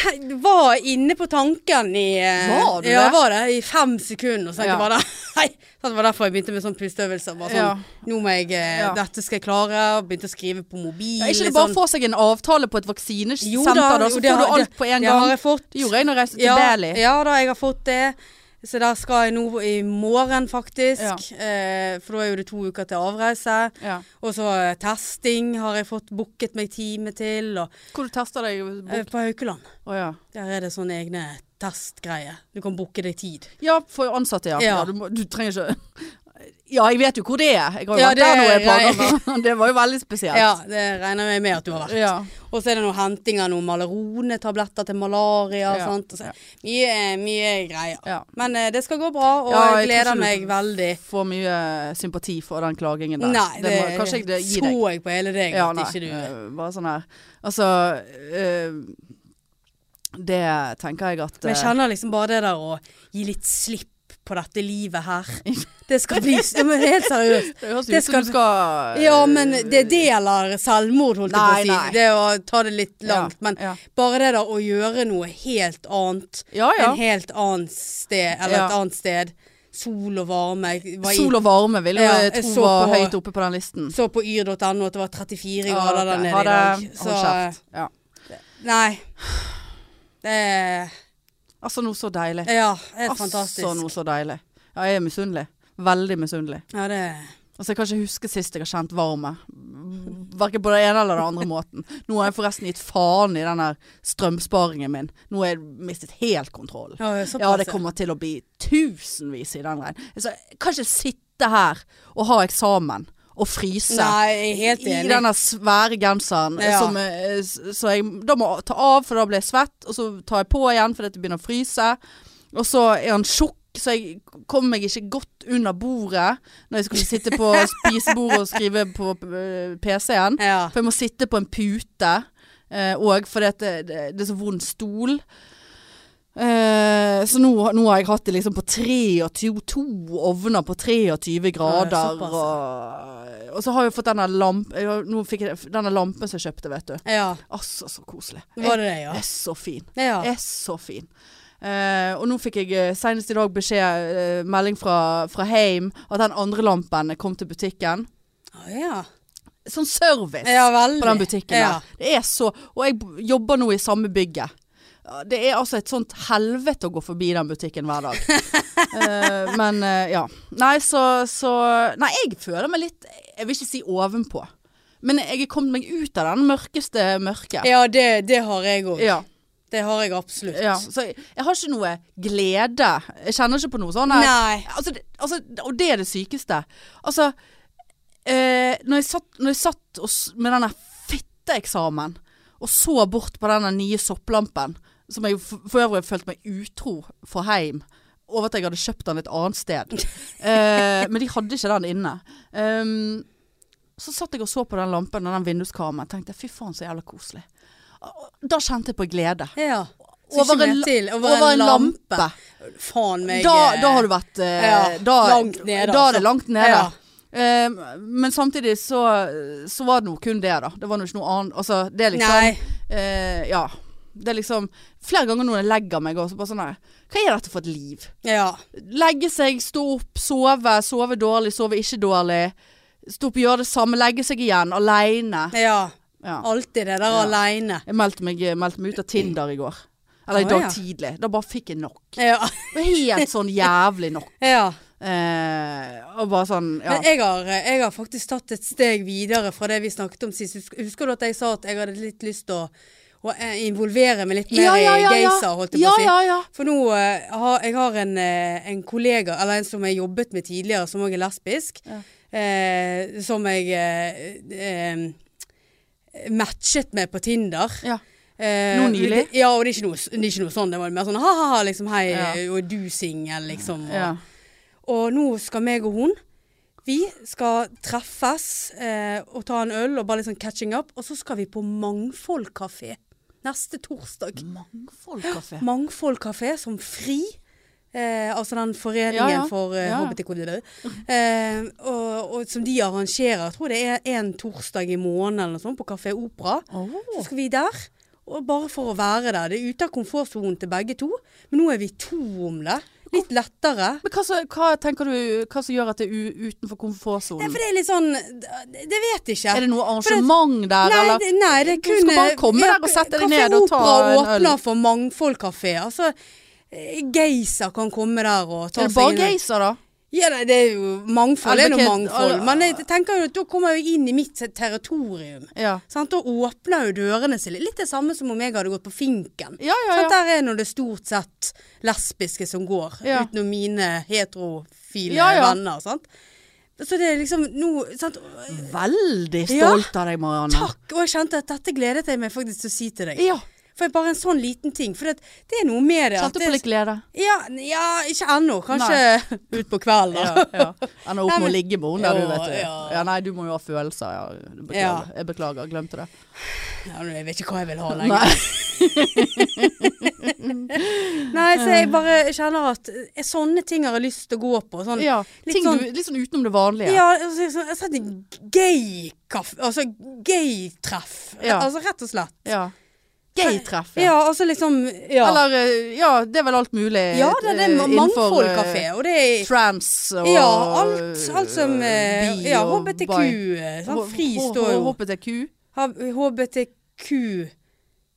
Speaker 2: Jeg var inne på tanken i eh,
Speaker 1: Var du det?
Speaker 2: ja, jeg var det? I fem sekunder. Så tenkte
Speaker 1: Ja.
Speaker 2: jeg bare Nei. Så det var derfor jeg begynte med sånn pusteøvelser. Bare
Speaker 1: Ja.
Speaker 2: sånn, Nå må jeg eh,
Speaker 1: Ja.
Speaker 2: Dette skal jeg klare. og Begynte å skrive på mobil.
Speaker 1: Ja, er ikke det
Speaker 2: litt
Speaker 1: bare å
Speaker 2: sånn.
Speaker 1: få seg en avtale på et
Speaker 2: Jo
Speaker 1: vaksinesenter, da,
Speaker 2: jo,
Speaker 1: så
Speaker 2: det
Speaker 1: får
Speaker 2: har-
Speaker 1: du alt på en
Speaker 2: Det har
Speaker 1: gang?
Speaker 2: jeg fått.
Speaker 1: Det gjorde jeg når jeg reiste til
Speaker 2: ja,
Speaker 1: Bali.
Speaker 2: Ja da, jeg har fått det. Så der skal jeg nå i morgen, faktisk. Eh, for da er jo det to uker til avreise.
Speaker 1: Ja.
Speaker 2: Og så eh, testing har jeg fått booket meg time til. Og,
Speaker 1: Hvor du tester deg?
Speaker 2: eh, på Haukeland.
Speaker 1: Å, ja.
Speaker 2: Der er det sånne egne testgreier. Du kan booke deg tid.
Speaker 1: Ja, for ansatte, ja.
Speaker 2: Ja.
Speaker 1: ja. du, må, du trenger ikke Ja, jeg vet jo hvor det er. Jeg har jo
Speaker 2: Ja,
Speaker 1: vært
Speaker 2: det
Speaker 1: der noen
Speaker 2: er-
Speaker 1: ganger. Det var jo veldig spesielt.
Speaker 2: Ja, det regner jeg med at du har vært.
Speaker 1: Ja.
Speaker 2: Og så er det noe henting av noen Malerone-tabletter til malaria og
Speaker 1: Ja.
Speaker 2: sånt. Og så, mye, mye greier.
Speaker 1: Ja.
Speaker 2: Men eh, det skal gå bra, og
Speaker 1: Ja, jeg
Speaker 2: jeg
Speaker 1: tror ikke
Speaker 2: gleder
Speaker 1: du-
Speaker 2: meg veldig.
Speaker 1: Får mye sympati for den klagingen der.
Speaker 2: Nei, det,
Speaker 1: må, kanskje jeg det gir
Speaker 2: så
Speaker 1: deg.
Speaker 2: jeg på hele deg
Speaker 1: Ja,
Speaker 2: at
Speaker 1: nei.
Speaker 2: ikke du
Speaker 1: eh, Bare sånn her. Altså eh, Det tenker jeg at
Speaker 2: Men jeg
Speaker 1: eh,
Speaker 2: kjenner liksom bare det der å gi litt slipp på dette livet her. Det skal bli ja, men Helt seriøst.
Speaker 1: Det høres
Speaker 2: det
Speaker 1: ut som
Speaker 2: skal-
Speaker 1: du skal
Speaker 2: Ja, men det deler selvmord, holdt jeg på
Speaker 1: Nei,
Speaker 2: å si.
Speaker 1: nei.
Speaker 2: Det å ta det litt
Speaker 1: Ja,
Speaker 2: langt. Men
Speaker 1: ja.
Speaker 2: bare det der å gjøre noe helt annet.
Speaker 1: Ja ja.
Speaker 2: En helt annet sted, eller et
Speaker 1: Ja.
Speaker 2: annet sted. Sol og varme. Jeg var i-
Speaker 1: Sol og varme vil
Speaker 2: Ja,
Speaker 1: jeg
Speaker 2: jeg
Speaker 1: tro
Speaker 2: så
Speaker 1: var
Speaker 2: på-
Speaker 1: høyt oppe på den listen.
Speaker 2: Så på yr.no at det var 34
Speaker 1: Ja,
Speaker 2: grader der
Speaker 1: ok.
Speaker 2: nede
Speaker 1: Ha
Speaker 2: i dag.
Speaker 1: det.
Speaker 2: Så eh,
Speaker 1: Hold kjeft. Ja.
Speaker 2: Nei. Det er
Speaker 1: Altså, noe så deilig.
Speaker 2: Ja, helt
Speaker 1: Altså,
Speaker 2: fantastisk.
Speaker 1: noe så deilig. Ja, jeg er misunnelig. Veldig misunnelig.
Speaker 2: Ja, det
Speaker 1: Altså, jeg kan ikke huske sist jeg har kjent varme. verken på den ene eller den andre måten. Nå har jeg forresten gitt faen i den der strømsparingen min. Nå har jeg mistet helt kontrollen.
Speaker 2: Ja, såpass,
Speaker 1: Ja, det kommer til å bli tusenvis i den regnen. Jeg sa, jeg kan ikke sitte her og ha eksamen og fryse
Speaker 2: eh, Nei, jeg er helt
Speaker 1: i
Speaker 2: enig.
Speaker 1: denne svære genseren. eh,
Speaker 2: Ja.
Speaker 1: Som, eh, s- så jeg da må jeg ta av, for da blir jeg svett. Og så tar jeg på igjen fordi det begynner å fryse. Og så er han tjukk, så jeg kom meg ikke godt under bordet når jeg skulle sitte på spisebordet og skrive på eh, PC-en.
Speaker 2: Ja.
Speaker 1: For jeg må sitte på en pute òg, fordi at det, det, det er så vond stol. Eh, så nå, nå har jeg hatt det liksom på 23 To ovner på 23 grader.
Speaker 2: såpass,
Speaker 1: og, og så har jeg fått denne lampen Nå fikk jeg denne lampen som jeg kjøpte, vet du.
Speaker 2: ja.
Speaker 1: Altså, så koselig.
Speaker 2: Var det det, ja?
Speaker 1: Er så fin.
Speaker 2: Ja.
Speaker 1: Er så fin. Eh, og nå fikk jeg eh, senest i dag beskjed, eh, melding fra, fra Heim, at den andre lampen kom til butikken.
Speaker 2: Å, ja.
Speaker 1: Sånn service
Speaker 2: ja, veldig.
Speaker 1: på den butikken
Speaker 2: ja.
Speaker 1: der. Det er så Og jeg b- jobber nå i samme bygget. Ja, Det er altså et sånt helvete å gå forbi den butikken hver dag. Eh, men eh, ja. Nei, så, så Nei, jeg føler meg litt Jeg vil ikke si ovenpå. Men jeg er kommet meg ut av den mørkeste mørket.
Speaker 2: Ja, det, det har jeg òg.
Speaker 1: Ja,
Speaker 2: Det har jeg absolutt.
Speaker 1: ja. Så jeg, jeg har ikke noe glede. Jeg kjenner ikke på noe sånn. her-
Speaker 2: Nei.
Speaker 1: Altså, det, altså, og det er det sykeste. Altså, eh, når, jeg satt, når jeg satt og, s- med denne fitteeksamen og så bort på denne nye sopplampen, som jeg f- for øvrig følte meg utro for heim, over at jeg hadde kjøpt den et annet sted. Eh, men de hadde ikke den inne. Ehm, så satt jeg og så på den lampen og den vinduskarmen og tenkte fy faen så jævla koselig. Og- og Da kjente jeg på glede.
Speaker 2: Ja. Så
Speaker 1: Over
Speaker 2: ikke
Speaker 1: en
Speaker 2: mer
Speaker 1: la-
Speaker 2: til. Over,
Speaker 1: Over
Speaker 2: en lampe.
Speaker 1: lampe.
Speaker 2: Faen meg.
Speaker 1: Da,
Speaker 2: eh,
Speaker 1: da har du vært eh,
Speaker 2: ja,
Speaker 1: da,
Speaker 2: langt
Speaker 1: Da
Speaker 2: nede,
Speaker 1: er det
Speaker 2: altså.
Speaker 1: langt nede.
Speaker 2: Ja.
Speaker 1: Eh, men samtidig så, så var det nå kun det, da. Det var nå ikke noe annet. Altså, det er liksom
Speaker 2: Nei.
Speaker 1: eh, Ja. Det er liksom Flere ganger når jeg legger meg og så bare sånn her Hva er dette for et liv?
Speaker 2: Ja.
Speaker 1: Legge seg, stå opp, sove, sove dårlig, sove ikke dårlig. Stå opp, gjøre det samme, legge seg igjen, aleine.
Speaker 2: ja.
Speaker 1: Ja.
Speaker 2: Alltid det der
Speaker 1: Ja.
Speaker 2: aleine.
Speaker 1: Jeg meldte meg, meldte meg ut av Tinder i går. Eller i
Speaker 2: Å,
Speaker 1: dag
Speaker 2: ja.
Speaker 1: tidlig. Da bare fikk jeg nok.
Speaker 2: Ja.
Speaker 1: Helt sånn jævlig nok.
Speaker 2: ja.
Speaker 1: Eh, og bare sånn ja.
Speaker 2: Men jeg har, eh, jeg har faktisk tatt et steg videre fra det vi snakket om sist. Husk- Husker du at jeg sa at jeg hadde litt lyst til å, å eh, involvere meg litt mer i Geisa, holdt jeg
Speaker 1: ja,
Speaker 2: på å si?
Speaker 1: ja, ja.
Speaker 2: For nå eh, har jeg har en, eh, en kollega, eller en som jeg jobbet med tidligere, som òg er lesbisk,
Speaker 1: Ja.
Speaker 2: eh, som jeg eh, eh, matchet med på Tinder.
Speaker 1: ja.
Speaker 2: Eh,
Speaker 1: Nå nylig?
Speaker 2: Det, ja, og det er, ikke noe, det er ikke noe sånn. Det var mer sånn ha-ha, liksom hei,
Speaker 1: Ja.
Speaker 2: og er du singel, liksom. Og,
Speaker 1: ja.
Speaker 2: og nå skal meg og hun Vi skal treffes eh, og ta en øl og bare litt sånn catching up. Og så skal vi på Mangfold kafé neste torsdag.
Speaker 1: Mangfoldkafé.
Speaker 2: Mangfold kafé som fri. Eh, altså den foreningen
Speaker 1: Ja, ja.
Speaker 2: for eh,
Speaker 1: Ja, ja.
Speaker 2: HBTQ. Eh, og, og som de arrangerer. Jeg tror det er en torsdag i måneden eller noe sånt på Kafé Opera. Så skal vi der. Og bare for å være der. Det er ute av komfortsonen til begge to. Men nå er vi to om det. Litt lettere.
Speaker 1: Men hva, så, hva tenker du hva som gjør at det er u utenfor
Speaker 2: Nei,
Speaker 1: komfortsonen?
Speaker 2: for det er litt sånn Det det vet jeg ikke.
Speaker 1: Mm. Er det noe arrangement der,
Speaker 2: nei,
Speaker 1: eller?
Speaker 2: det, nei, det er
Speaker 1: Du
Speaker 2: kun
Speaker 1: skal bare komme der og sette deg ned og ta
Speaker 2: Kafé
Speaker 1: en
Speaker 2: Opera
Speaker 1: øl.
Speaker 2: åpner for mangfoldkafé. Altså, eh, Geisa kan komme der og ta
Speaker 1: Er det bare
Speaker 2: en øl.
Speaker 1: geiser, da?
Speaker 2: Ja, nei, det er jo mangfold. Det er noe
Speaker 1: Albuquerque-
Speaker 2: mangfold. Men jeg tenker jo at da kommer jeg inn i mitt territorium.
Speaker 1: Ja.
Speaker 2: Sant? Da åpner jo dørene seg litt. Litt det samme som om jeg hadde gått på Finken.
Speaker 1: Ja, ja, ja.
Speaker 2: Sant? Der er nå det stort sett lesbiske som går,
Speaker 1: Ja.
Speaker 2: utenom mine heterofile
Speaker 1: Ja, ja.
Speaker 2: venner. Sant? Så det er liksom nå sant?
Speaker 1: Veldig
Speaker 2: Ja.
Speaker 1: stolt av deg, Marianne.
Speaker 2: Takk! Og jeg kjente at dette gledet jeg meg faktisk til å si til deg.
Speaker 1: Ja.
Speaker 2: For bare en sånn liten ting. For det, det er noe med det. at
Speaker 1: Kjente
Speaker 2: det-
Speaker 1: på litt glede.
Speaker 2: ja, ja, ikke ennå. Kanskje utpå kvelden. da.
Speaker 1: Ja, ja. Ender opp med å
Speaker 2: Nei, men-
Speaker 1: ligge med henne, du,
Speaker 2: Ja,
Speaker 1: vet du.
Speaker 2: ja.
Speaker 1: Ja, nei, du må jo ha følelser. Ja. Beklager.
Speaker 2: Ja.
Speaker 1: Jeg beklager, glemte det.
Speaker 2: Ja, men jeg vet ikke hva jeg vil ha lenger.
Speaker 1: Nei.
Speaker 2: Nei, så jeg bare kjenner at eh, sånne ting har jeg lyst til å gå på. Sånn,
Speaker 1: Ja.
Speaker 2: Litt
Speaker 1: Ting
Speaker 2: sånn-
Speaker 1: du, litt sånn utenom det vanlige.
Speaker 2: Ja, altså, sånn- jeg setter gay-kaffe Altså gay-treff.
Speaker 1: Ja.
Speaker 2: Altså rett og slett.
Speaker 1: Ja. Gay-treff.
Speaker 2: Ja, altså liksom Ja,
Speaker 1: Eller eh, ja, det er vel alt mulig.
Speaker 2: ja det, det er
Speaker 1: eh, innenfor, eh,
Speaker 2: mangfoldkafé, og det er
Speaker 1: Trans og
Speaker 2: Ja, alt, alt som eh,
Speaker 1: bi
Speaker 2: Ja,
Speaker 1: og
Speaker 2: HBTQ.
Speaker 1: bi.
Speaker 2: eh, sant?
Speaker 1: H-
Speaker 2: Fri
Speaker 1: H-
Speaker 2: står jo
Speaker 1: HBTQ.
Speaker 2: HBTQ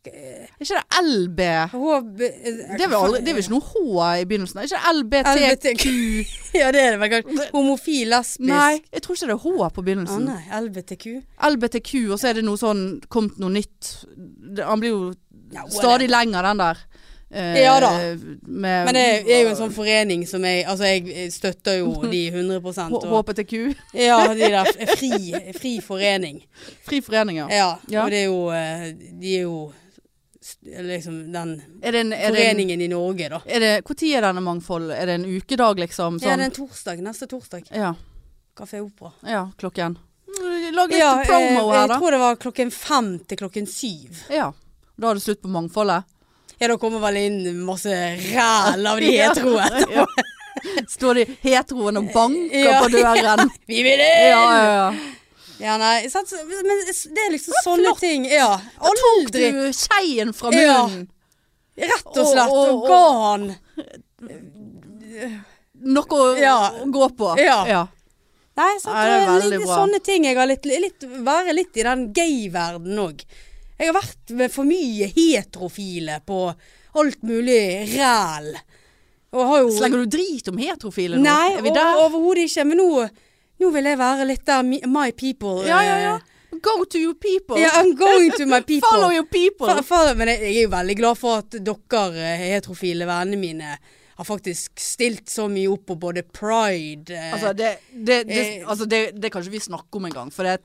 Speaker 2: eh,
Speaker 1: Er ikke det LB?
Speaker 2: HB... eh,
Speaker 1: Det er vel aldri- det er vel ikke noe H i begynnelsen? Er ikke det LBT?
Speaker 2: LBTQ. ja, det er det vel kanskje. Homofil, lesbisk.
Speaker 1: Nei, jeg tror ikke det er H på
Speaker 2: Å
Speaker 1: begynnelsen.
Speaker 2: nei, LBTQ.
Speaker 1: LBTQ, og så er det noe sånn Komt noe nytt. Det- Han blir jo
Speaker 2: Ja,
Speaker 1: stadig lenger, den der. Eh,
Speaker 2: Ja da.
Speaker 1: Med
Speaker 2: Men det er- er jo en sånn forening som jeg Altså, jeg støtter jo de 100
Speaker 1: H-
Speaker 2: og,
Speaker 1: HPTQ.
Speaker 2: Ja, de der f- fri, fri forening.
Speaker 1: Fri forening, ja.
Speaker 2: Ja,
Speaker 1: Ja.
Speaker 2: og det er jo eh, De er jo s- liksom den
Speaker 1: Er det en, er det en,
Speaker 2: foreningen i Norge, da.
Speaker 1: er det, hvor tid er denne mangfold? Er det en ukedag, liksom?
Speaker 2: Ja, det er
Speaker 1: Sånn?
Speaker 2: en torsdag. Neste torsdag.
Speaker 1: Ja,
Speaker 2: Kafé Opera.
Speaker 1: ja klokken. Lag litt
Speaker 2: Ja, eh,
Speaker 1: promo her,
Speaker 2: jeg
Speaker 1: da.
Speaker 2: tror det var klokken fem til klokken syv.
Speaker 1: Ja. Da er det slutt på mangfoldet.
Speaker 2: Ja, da kommer vel inn masse ræl av de hetero etterpå.
Speaker 1: Ja. Står de heteroen og banker
Speaker 2: Ja.
Speaker 1: på døren.
Speaker 2: Vi vil
Speaker 1: Ja,
Speaker 2: inn!
Speaker 1: ja, ja.
Speaker 2: Ja, nei, sant? så- men det er liksom sånne
Speaker 1: flott.
Speaker 2: ting. Ja,
Speaker 1: Tok du
Speaker 2: aldri.
Speaker 1: skeien fra
Speaker 2: Ja.
Speaker 1: munnen?
Speaker 2: Rett og slett.
Speaker 1: Og- og-
Speaker 2: Og ga han.
Speaker 1: Noe å,
Speaker 2: Ja.
Speaker 1: å gå på?
Speaker 2: Ja. Nei, sant?
Speaker 1: Nei, det er
Speaker 2: det er
Speaker 1: veldig
Speaker 2: litt
Speaker 1: bra.
Speaker 2: sånne ting. Jeg har litt, litt, være litt i den gay-verdenen òg. Jeg har vært med for mye heterofile på alt mulig ræl. Og har jo
Speaker 1: Slenger du drit om heterofile nå?
Speaker 2: Nei,
Speaker 1: er vi
Speaker 2: o-
Speaker 1: der?
Speaker 2: overhodet ikke. Men nå, nå vil jeg være litt der mi- my people.
Speaker 1: Ja, ja, ja. Go to your people.
Speaker 2: Yeah, I'm going to my people.
Speaker 1: Follow your people.
Speaker 2: Fa- fa- men jeg, jeg er jo veldig glad for at dere eh, heterofile vennene mine har faktisk stilt så mye opp på både pride eh,
Speaker 1: Altså, det, det, det,
Speaker 2: eh.
Speaker 1: altså, det, det kan ikke vi snakke om engang, for det,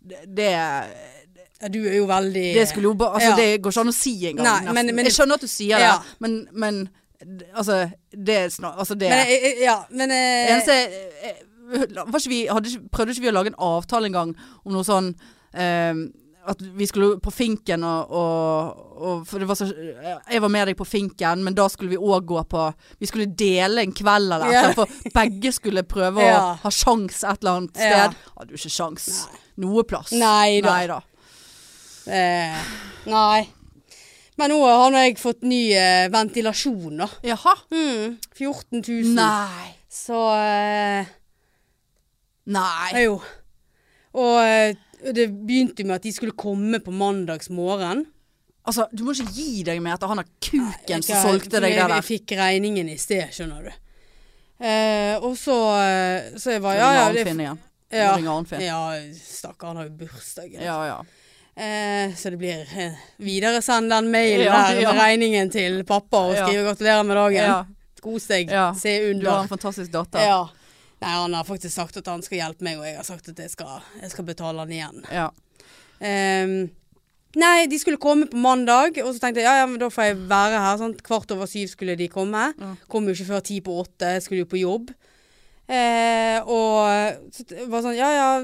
Speaker 1: det, det
Speaker 2: ja, Du er jo veldig
Speaker 1: Det skulle jo bare Altså,
Speaker 2: Ja.
Speaker 1: det går ikke an å si engang.
Speaker 2: Nei,
Speaker 1: nesten.
Speaker 2: men- men-
Speaker 1: jeg skjønner at du sier
Speaker 2: Ja.
Speaker 1: det, men, men d- Altså, det er snak- Altså, det
Speaker 2: Men jeg, jeg- ja, men eh,
Speaker 1: eneste eh, var ikke vi, hadde, ikke- Prøvde ikke vi å lage en avtale engang om noe sånn eh, At vi skulle på Finken og, og, og For det var så eh, Jeg var med deg på Finken, men da skulle vi òg gå på Vi skulle dele en kveld eller et
Speaker 2: Ja.
Speaker 1: eller annet, for begge skulle prøve
Speaker 2: Ja.
Speaker 1: å ha sjans et eller annet sted.
Speaker 2: Ja.
Speaker 1: Hadde jo ikke sjans. Noe plass.
Speaker 2: Nei da.
Speaker 1: Nei da.
Speaker 2: eh, Nei. Men nå har nå jeg fått ny eh, ventilasjon, da.
Speaker 1: Jaha.
Speaker 2: Mm, 14 000.
Speaker 1: Hmm. Nei.
Speaker 2: Så eh,
Speaker 1: Nei.
Speaker 2: Jo. Og eh, det begynte med at de skulle komme på mandagsmorgen.
Speaker 1: Altså, du må ikke gi deg med at han har kuken som
Speaker 2: Jeg-
Speaker 1: solgte deg det
Speaker 2: jeg- Jeg
Speaker 1: der.
Speaker 2: fikk regningen i sted, skjønner du. Eh, og så eh, Så jeg bare
Speaker 1: Ja,
Speaker 2: Ja, ja.
Speaker 1: Arnfinn
Speaker 2: Det,
Speaker 1: igjen. Ja.
Speaker 2: ja,
Speaker 1: Arnfinn.
Speaker 2: ja stakkar, han har jo bursdag.
Speaker 1: Ja, ja.
Speaker 2: Eh, så det blir eh, videresend den mailen
Speaker 1: Ja,
Speaker 2: der
Speaker 1: ja.
Speaker 2: med regningen til pappa og
Speaker 1: Ja.
Speaker 2: skrive 'gratulerer med dagen'.
Speaker 1: ja.
Speaker 2: Kos deg.
Speaker 1: Ja.
Speaker 2: Se
Speaker 1: Du har
Speaker 2: under.
Speaker 1: en fantastisk datter.
Speaker 2: Ja. Nei, han har faktisk sagt at han skal hjelpe meg, og jeg har sagt at jeg skal, jeg skal betale han igjen.
Speaker 1: Ja.
Speaker 2: Ehm, nei, de skulle komme på mandag, og så tenkte jeg ja, ja, men da får jeg være her. Sant? Kvart over syv skulle de komme.
Speaker 1: Ja.
Speaker 2: Kom jo ikke før ti på åtte, jeg skulle jo på jobb. Eh, og så t- var sånn ja ja,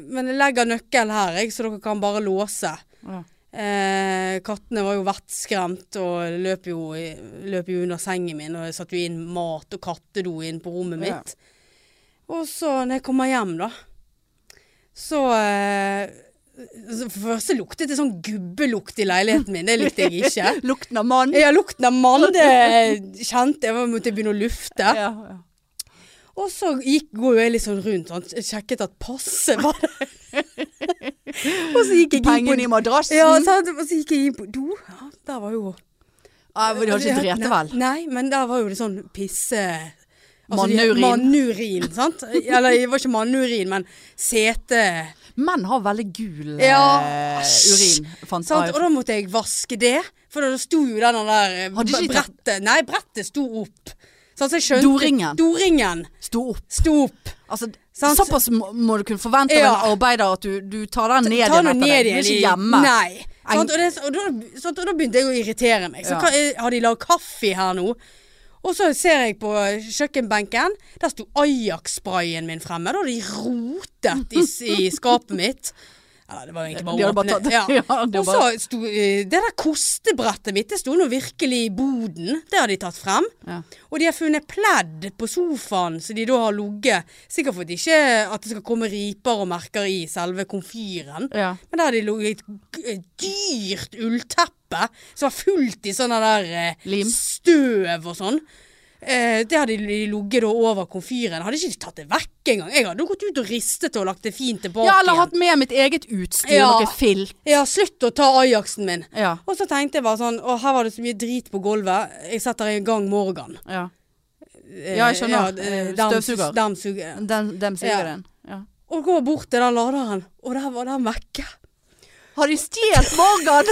Speaker 2: men jeg legger nøkkel her, jeg, så dere kan bare låse.
Speaker 1: Ja.
Speaker 2: Eh, kattene var jo vettskremt og løp jo, i- løp jo under sengen min, og jeg satte jo inn mat og kattedo inn på rommet
Speaker 1: Ja.
Speaker 2: mitt. Og så, når jeg kommer hjem, da, så eh, så For det første luktet det sånn gubbelukt i leiligheten min. Det likte jeg ikke.
Speaker 1: Lukten av mann.
Speaker 2: Ja, lukten av mann, det kjente jeg. Jeg måtte begynne å lufte.
Speaker 1: Ja, ja.
Speaker 2: Og så gikk, går jo jeg litt sånn rundt, sånn, sjekket at passet var der. og så gikk jeg inn på
Speaker 1: Pengene i madrassen.
Speaker 2: ja,
Speaker 1: Ja,
Speaker 2: sant? og så gikk jeg inn på do. Ja, der var jo
Speaker 1: men de har ikke drete vel?
Speaker 2: Nei, nei, men der var jo det sånn pisse... altså, de-
Speaker 1: Manneurin.
Speaker 2: Manneurin, sant? Eller det var ikke manneurin, men sete...
Speaker 1: Menn har veldig gul eh,
Speaker 2: Ja, æsj.
Speaker 1: urin. Fant
Speaker 2: Sant?
Speaker 1: jeg.
Speaker 2: Og da måtte jeg vaske det, for da sto jo den der eh,
Speaker 1: Hadde ikke de tatt-
Speaker 2: brettet... Nei, brettet sto opp. Sant, så altså, jeg skjønte...
Speaker 1: Doringen.
Speaker 2: Doringen
Speaker 1: Sto opp.
Speaker 2: sto opp.
Speaker 1: Altså,
Speaker 2: Sant?
Speaker 1: såpass må, må du kunne forvente av en
Speaker 2: Ja.
Speaker 1: arbeider at du, du tar den ned
Speaker 2: Ta
Speaker 1: igjen
Speaker 2: nå
Speaker 1: etter
Speaker 2: ned
Speaker 1: deg. Du er
Speaker 2: igjen
Speaker 1: ikke
Speaker 2: i-
Speaker 1: hjemme.
Speaker 2: Nei.
Speaker 1: Eng-
Speaker 2: Sant? Og, det, og, da, sant? og da begynte jeg å irritere meg.
Speaker 1: Ja.
Speaker 2: Så hva er- har de lagd kaffe her nå? Og så ser jeg på kjøkkenbenken. Der sto Ajax-sprayen min fremme. Da hadde de rotet i, s- i skapet mitt. Eller det var egentlig bare
Speaker 1: De
Speaker 2: å
Speaker 1: hadde bare
Speaker 2: åpne.
Speaker 1: tatt-
Speaker 2: ja.
Speaker 1: Ja, det
Speaker 2: og så
Speaker 1: var-
Speaker 2: sto eh, det der kostebrettet mitt, det sto nå virkelig i boden. Det har de tatt frem.
Speaker 1: Ja.
Speaker 2: Og de har funnet pledd på sofaen, så de da har ligget. Sikkert for at, ikke, at det skal komme riper og merker i selve komfyren.
Speaker 1: Ja.
Speaker 2: Men der har de ligget i et g- dyrt ullteppe som var fullt i sånne der eh,
Speaker 1: Lim.
Speaker 2: støv og sånn. Eh, det hadde de ligget da over komfyren. Hadde ikke de tatt det vekk jakke engang. Jeg hadde jo gått ut og ristet og lagt det fint tilbake
Speaker 1: Ja, eller
Speaker 2: igjen.
Speaker 1: hatt med mitt eget utstyr,
Speaker 2: Ja.
Speaker 1: noe filt.
Speaker 2: Ja, slutt å ta Ajaxen min.
Speaker 1: Ja.
Speaker 2: Og så tenkte jeg bare sånn Å, her var det så mye drit på gulvet. Jeg setter i gang Morgan.
Speaker 1: ja.
Speaker 2: Eh,
Speaker 1: Ja, jeg skjønner.
Speaker 2: eh,
Speaker 1: Eh,
Speaker 2: dems-
Speaker 1: støvsuger.
Speaker 2: Demsuger.
Speaker 1: Den, dem sier
Speaker 2: Ja.
Speaker 1: den. Ja.
Speaker 2: Og går bort til den laderen, og der var den vekke.
Speaker 1: Har de stjålet Morgan?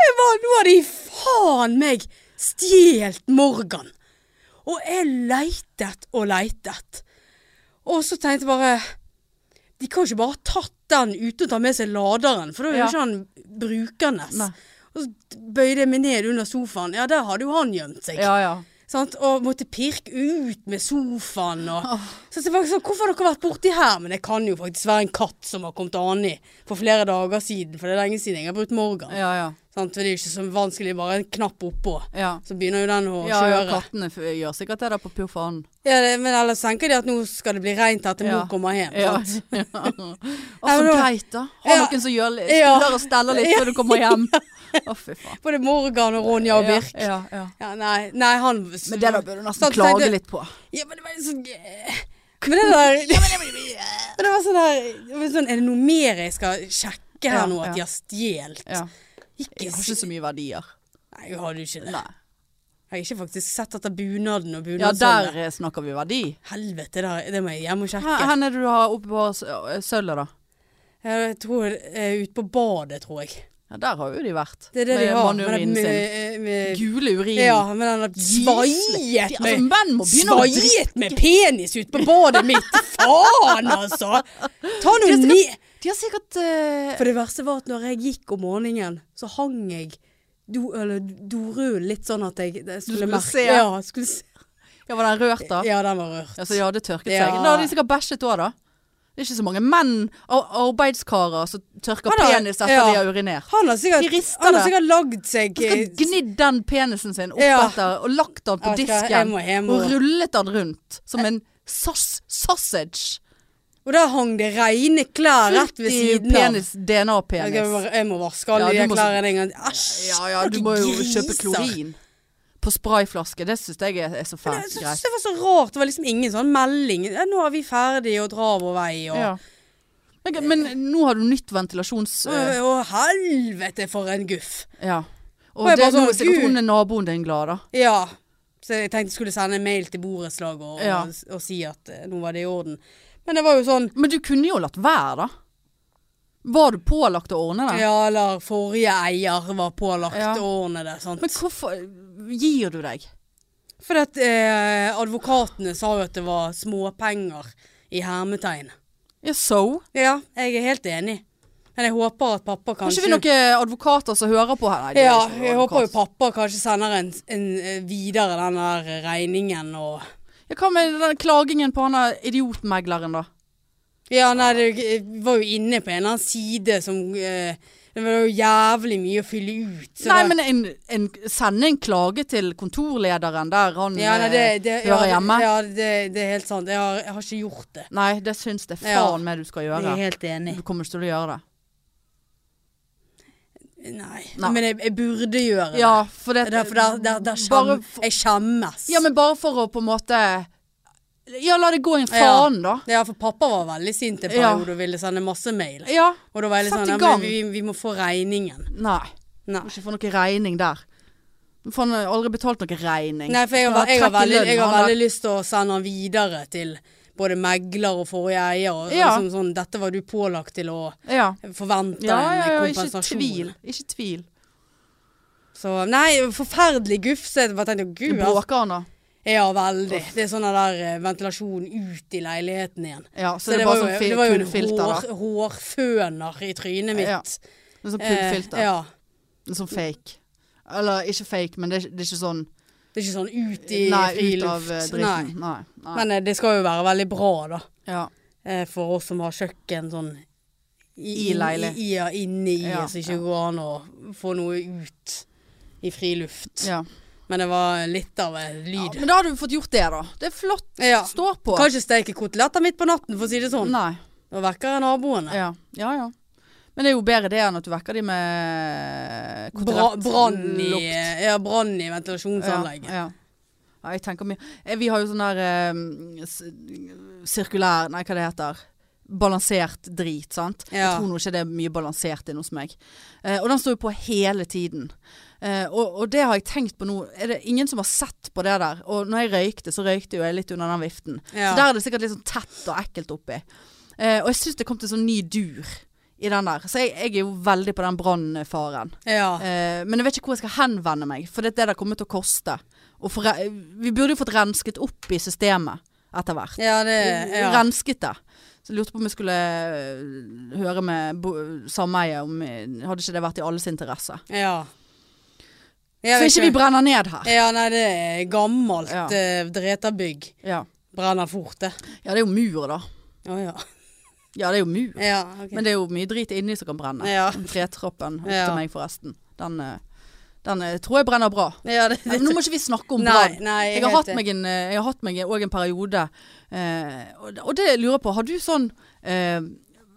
Speaker 2: Jeg var, nå har de faen meg stjålet Morgan. Og jeg leitet og leitet. Og så tenkte jeg bare De kan jo ikke bare ha tatt den uten å ta med seg laderen, for da er jo
Speaker 1: Ja.
Speaker 2: ikke han brukende.
Speaker 1: Nei.
Speaker 2: Og så bøyde jeg meg ned under sofaen. Ja, der hadde jo han gjemt seg.
Speaker 1: ja, ja.
Speaker 2: Sant? Og måtte pirke ut med sofaen og Så det var sånn, hvorfor har dere vært borti her? Men det kan jo faktisk være en katt som har kommet an i for flere dager siden, for det er lenge siden jeg har brukt Morgan.
Speaker 1: Ja, ja.
Speaker 2: Sant? For det er jo ikke så vanskelig, bare en knapp oppå.
Speaker 1: Ja,
Speaker 2: Så begynner jo den å
Speaker 1: ja, ja
Speaker 2: kjøre.
Speaker 1: kattene f- gjør sikkert det der på pur faen.
Speaker 2: Ja, det, men ellers tenker de at nå skal det bli reint etter
Speaker 1: Ja.
Speaker 2: mor kommer hjem.
Speaker 1: Ja.
Speaker 2: Sant?
Speaker 1: ja. Og
Speaker 2: Ja,
Speaker 1: så
Speaker 2: men da-
Speaker 1: greit, da. Ha
Speaker 2: Ja.
Speaker 1: noen som gjør litt,
Speaker 2: Ja.
Speaker 1: stiller og steller litt før du kommer hjem. Å, fy faen.
Speaker 2: Både Morgan og Ronja og Birk. Ja,
Speaker 1: Ja, ja, ja.
Speaker 2: nei, nei, han
Speaker 1: Men det da bør du nesten
Speaker 2: Sant, tenkte-
Speaker 1: klage litt på.
Speaker 2: Ja, men det var sånn
Speaker 1: eh,
Speaker 2: Men det der Men det var sånn der det var sånn, Er det noe mer jeg skal sjekke her
Speaker 1: Ja,
Speaker 2: nå? At
Speaker 1: ja.
Speaker 2: de har stjålet?
Speaker 1: Ja.
Speaker 2: Ikke
Speaker 1: Jeg har ikke så mye verdier.
Speaker 2: Nei, jeg hadde jo ikke det.
Speaker 1: Nei.
Speaker 2: Jeg har ikke faktisk sett etter bunaden og
Speaker 1: Ja, der
Speaker 2: bunadsholdet.
Speaker 1: eh, snakker vi verdi.
Speaker 2: Helvete, der, det må jeg hjem og sjekke.
Speaker 1: Hvor er det du har oppe på s- ø, Sølvet, da?
Speaker 2: Jeg tror eh, ute på badet, tror jeg.
Speaker 1: Ja, der har jo de vært.
Speaker 2: Det er det de har.
Speaker 1: Med
Speaker 2: den-
Speaker 1: manurinen sin.
Speaker 2: med, eh, med,
Speaker 1: Gule urin.
Speaker 2: ja, med den der
Speaker 1: Jesus. De-
Speaker 2: svaiet
Speaker 1: Altså,
Speaker 2: med
Speaker 1: menn må begynne å drikke.
Speaker 2: Svaiet med penis ut på badet mitt! Faen, altså! Ta nå
Speaker 1: Det skal-
Speaker 2: ned
Speaker 1: De har sikkert eh,
Speaker 2: For det verste var at når jeg gikk om morgenen, så hang jeg do, eller dorullen litt sånn at jeg det skulle,
Speaker 1: skulle
Speaker 2: merke.
Speaker 1: se.
Speaker 2: Ja, skulle se.
Speaker 1: Ja, var den rørt, da? Altså,
Speaker 2: ja, den var rørt.
Speaker 1: Ja, så de hadde tørket
Speaker 2: Ja.
Speaker 1: seg. Da hadde de sikkert bæsjet òg, da. Det er ikke så mange menn og arbeidskarer som tørker
Speaker 2: Men da-
Speaker 1: penis etter
Speaker 2: ja.
Speaker 1: de har urinert.
Speaker 2: Han har sikkert,
Speaker 1: De rister
Speaker 2: han har
Speaker 1: det.
Speaker 2: sikkert lagd seg
Speaker 1: De
Speaker 2: eh,
Speaker 1: har gnidd den penisen sin opp
Speaker 2: Ja.
Speaker 1: etter og lagt den på
Speaker 2: Jeg skal- jeg
Speaker 1: disken
Speaker 2: må hjem og-
Speaker 1: og rullet den rundt som en sass sausage.
Speaker 2: Og der hang det reine klær rett ved
Speaker 1: I
Speaker 2: siden av.
Speaker 1: penis, DNA-penis.
Speaker 2: Jeg, må- jeg må vaske
Speaker 1: Ja,
Speaker 2: alle de
Speaker 1: du
Speaker 2: der
Speaker 1: må-
Speaker 2: klærne en gang. Æsj!
Speaker 1: Ja, ja, du
Speaker 2: dere
Speaker 1: må jo
Speaker 2: griser.
Speaker 1: kjøpe klorin på sprayflaske. Det syns jeg er, er så
Speaker 2: Men Jeg
Speaker 1: fælt.
Speaker 2: synes
Speaker 1: Greit.
Speaker 2: det var så rart. Det var liksom ingen sånn melding. Ja, 'Nå er vi ferdige og drar vår vei', og
Speaker 1: Ja. Men, men nå har du nytt ventilasjons... eh,
Speaker 2: Å, å, helvete, for en guff.
Speaker 1: Ja. Og
Speaker 2: Og jeg
Speaker 1: det
Speaker 2: bare
Speaker 1: er nå
Speaker 2: sånn,
Speaker 1: sikkert
Speaker 2: Gud.
Speaker 1: hun er naboen din glad, da.
Speaker 2: Ja. Så jeg tenkte jeg skulle sende en mail til borettslaget og,
Speaker 1: Ja.
Speaker 2: og, og si at eh, nå var det i orden. Men det var jo sånn
Speaker 1: Men du kunne jo latt være, da. Var du pålagt å ordne det?
Speaker 2: Ja, eller forrige eier var pålagt
Speaker 1: Ja.
Speaker 2: å ordne det. Sant?
Speaker 1: Men hvorfor gir du deg?
Speaker 2: For at eh, advokatene sa jo at det var småpenger i hermetegn.
Speaker 1: Ja, so?
Speaker 2: Ja, jeg er helt enig. Men jeg håper at pappa
Speaker 1: Har ikke
Speaker 2: kanskje
Speaker 1: vi noen advokater som hører på her? Nei, det er
Speaker 2: Ja,
Speaker 1: ikke noen
Speaker 2: jeg håper jo
Speaker 1: advokat.
Speaker 2: pappa kanskje sender en, en eh, videre den der regningen og
Speaker 1: Ja, Hva med den klagingen på han der idiotmegleren, da?
Speaker 2: Ja, nei, det eh, var jo inne på en eller annen side som eh, Det var jo jævlig mye å fylle ut. så
Speaker 1: Nei,
Speaker 2: det-
Speaker 1: men en, en, sende en klage til kontorlederen der han
Speaker 2: ja, nei, det, det,
Speaker 1: eh,
Speaker 2: ja,
Speaker 1: hører hjemme.
Speaker 2: Ja, det, det er helt sant. Jeg har, jeg har ikke gjort det.
Speaker 1: Nei, det syns det
Speaker 2: Ja.
Speaker 1: faen meg du skal
Speaker 2: Jeg
Speaker 1: gjøre.
Speaker 2: er helt enig.
Speaker 1: Du kommer ikke til å gjøre det.
Speaker 2: Nei.
Speaker 1: Nei.
Speaker 2: Men jeg, jeg burde gjøre det.
Speaker 1: Ja, for det,
Speaker 2: Det er Derfor der, der, der skjem,
Speaker 1: Bare for-
Speaker 2: jeg skjemmes.
Speaker 1: ja, men bare for å på en måte Ja, la det gå en faen, da.
Speaker 2: Ja, for pappa var veldig sint en
Speaker 1: Ja.
Speaker 2: periode og ville sende masse mail.
Speaker 1: Ja.
Speaker 2: Og da var jeg litt
Speaker 1: Sett
Speaker 2: sånn
Speaker 1: i
Speaker 2: ja,
Speaker 1: gang.
Speaker 2: men vi, vi må få regningen.
Speaker 1: Nei.
Speaker 2: Nei.
Speaker 1: Må ikke få noe regning der. For han har aldri betalt noe regning.
Speaker 2: Nei, for
Speaker 1: Han
Speaker 2: jeg har, jeg har,
Speaker 1: trekk i
Speaker 2: veldig, jeg
Speaker 1: lønnen,
Speaker 2: har
Speaker 1: han
Speaker 2: veldig lyst til å sende han videre til både megler og forrige eier. Og,
Speaker 1: Ja.
Speaker 2: liksom sånn, dette var du pålagt til å
Speaker 1: der. Ja.
Speaker 2: forvente
Speaker 1: Ja,
Speaker 2: en
Speaker 1: ja, ja, ikke
Speaker 2: kompensasjon.
Speaker 1: tvil. Ikke tvil.
Speaker 2: Så nei, forferdelig gufs. Jeg bare tenkte
Speaker 1: Du
Speaker 2: gud, altså.
Speaker 1: bråker han da.
Speaker 2: Ja, veldig. Det er sånn der eh, ventilasjon ut i leiligheten igjen.
Speaker 1: Ja, så,
Speaker 2: Så
Speaker 1: det er
Speaker 2: var
Speaker 1: bare
Speaker 2: jo,
Speaker 1: sånn
Speaker 2: det var jo en
Speaker 1: kullfilter,
Speaker 2: hår,
Speaker 1: da.
Speaker 2: hårføner i trynet mitt.
Speaker 1: Ja, En sånn
Speaker 2: Eh,
Speaker 1: pullfilter.
Speaker 2: ja.
Speaker 1: En sånn fake. Eller ikke fake, men det er, det er ikke sånn
Speaker 2: Det er ikke sånn ut i
Speaker 1: Nei, ut av eh,
Speaker 2: friluft.
Speaker 1: dritten. Nei. Nei.
Speaker 2: Men eh, det skal jo være veldig bra, da.
Speaker 1: ja.
Speaker 2: eh, For oss som har kjøkken sånn
Speaker 1: I leilighet.
Speaker 2: i- Ja, inne i,
Speaker 1: Ja,
Speaker 2: så ikke går an å få noe ut i friluft.
Speaker 1: Ja.
Speaker 2: Men det var litt av en
Speaker 1: ja.
Speaker 2: lyd.
Speaker 1: Men da har du fått gjort det, da. Det er flott.
Speaker 2: Ja.
Speaker 1: Står på.
Speaker 2: Kan ikke steke koteletter midt på natten, for å si det sånn.
Speaker 1: Nei.
Speaker 2: Da vekker jeg naboene.
Speaker 1: Ja. ja ja. Men det er jo bedre det enn at du vekker de med
Speaker 2: Bra- Sånn
Speaker 1: kotelettlukt.
Speaker 2: Brann i, ja, brann i ventilasjonsanlegget.
Speaker 1: Ja, ja. Ja, jeg tenker mye. Eh, Vi har jo sånn der eh, s- sirkulær Nei, hva det heter. Balansert drit, sant.
Speaker 2: Ja.
Speaker 1: Jeg tror nå ikke det er mye balansert inne hos meg. Eh, og den står jo på hele tiden. Eh, og, og det har jeg tenkt på nå. Er det ingen som har sett på det der? Og når jeg røykte, så røykte jo jeg litt under den viften.
Speaker 2: Ja.
Speaker 1: Så der er det sikkert litt sånn tett og ekkelt oppi. Eh, og jeg syns det kom til en sånn ny dur i den der. Så jeg, jeg er jo veldig på den brannfaren.
Speaker 2: Ja.
Speaker 1: Eh, men jeg vet ikke hvor jeg skal henvende meg, for det er det det kommer til å koste. Og for, vi burde jo fått rensket opp i systemet etter hvert.
Speaker 2: Ja, det Eh, ja.
Speaker 1: Rensket det. Så jeg lurte på om jeg skulle øh, høre med bo- sameiet om øh, Hadde ikke det vært i alles interesse?
Speaker 2: ja. Jeg
Speaker 1: Så
Speaker 2: vet
Speaker 1: ikke vi brenner ned her.
Speaker 2: Ja, nei, det er gammelt
Speaker 1: Ja.
Speaker 2: eh, dreterbygg.
Speaker 1: Ja.
Speaker 2: Brenner fort, det.
Speaker 1: ja, det er jo mur, da.
Speaker 2: Å ja.
Speaker 1: Ja, det er jo mur.
Speaker 2: ja ok.
Speaker 1: Men det er jo mye drit inni som kan brenne.
Speaker 2: ja.
Speaker 1: Den Tretrappen opp
Speaker 2: Ja.
Speaker 1: til meg, forresten. Den, øh, den øh, tror jeg brenner bra.
Speaker 2: ja, det,
Speaker 1: Nei,
Speaker 2: det
Speaker 1: men nå må ikke vi snakke om brann.
Speaker 2: Nei, nei,
Speaker 1: Jeg har hatt meg en, eh, jeg har hatt meg òg en periode, eh, og- og det lurer jeg på. Har du sånn eh,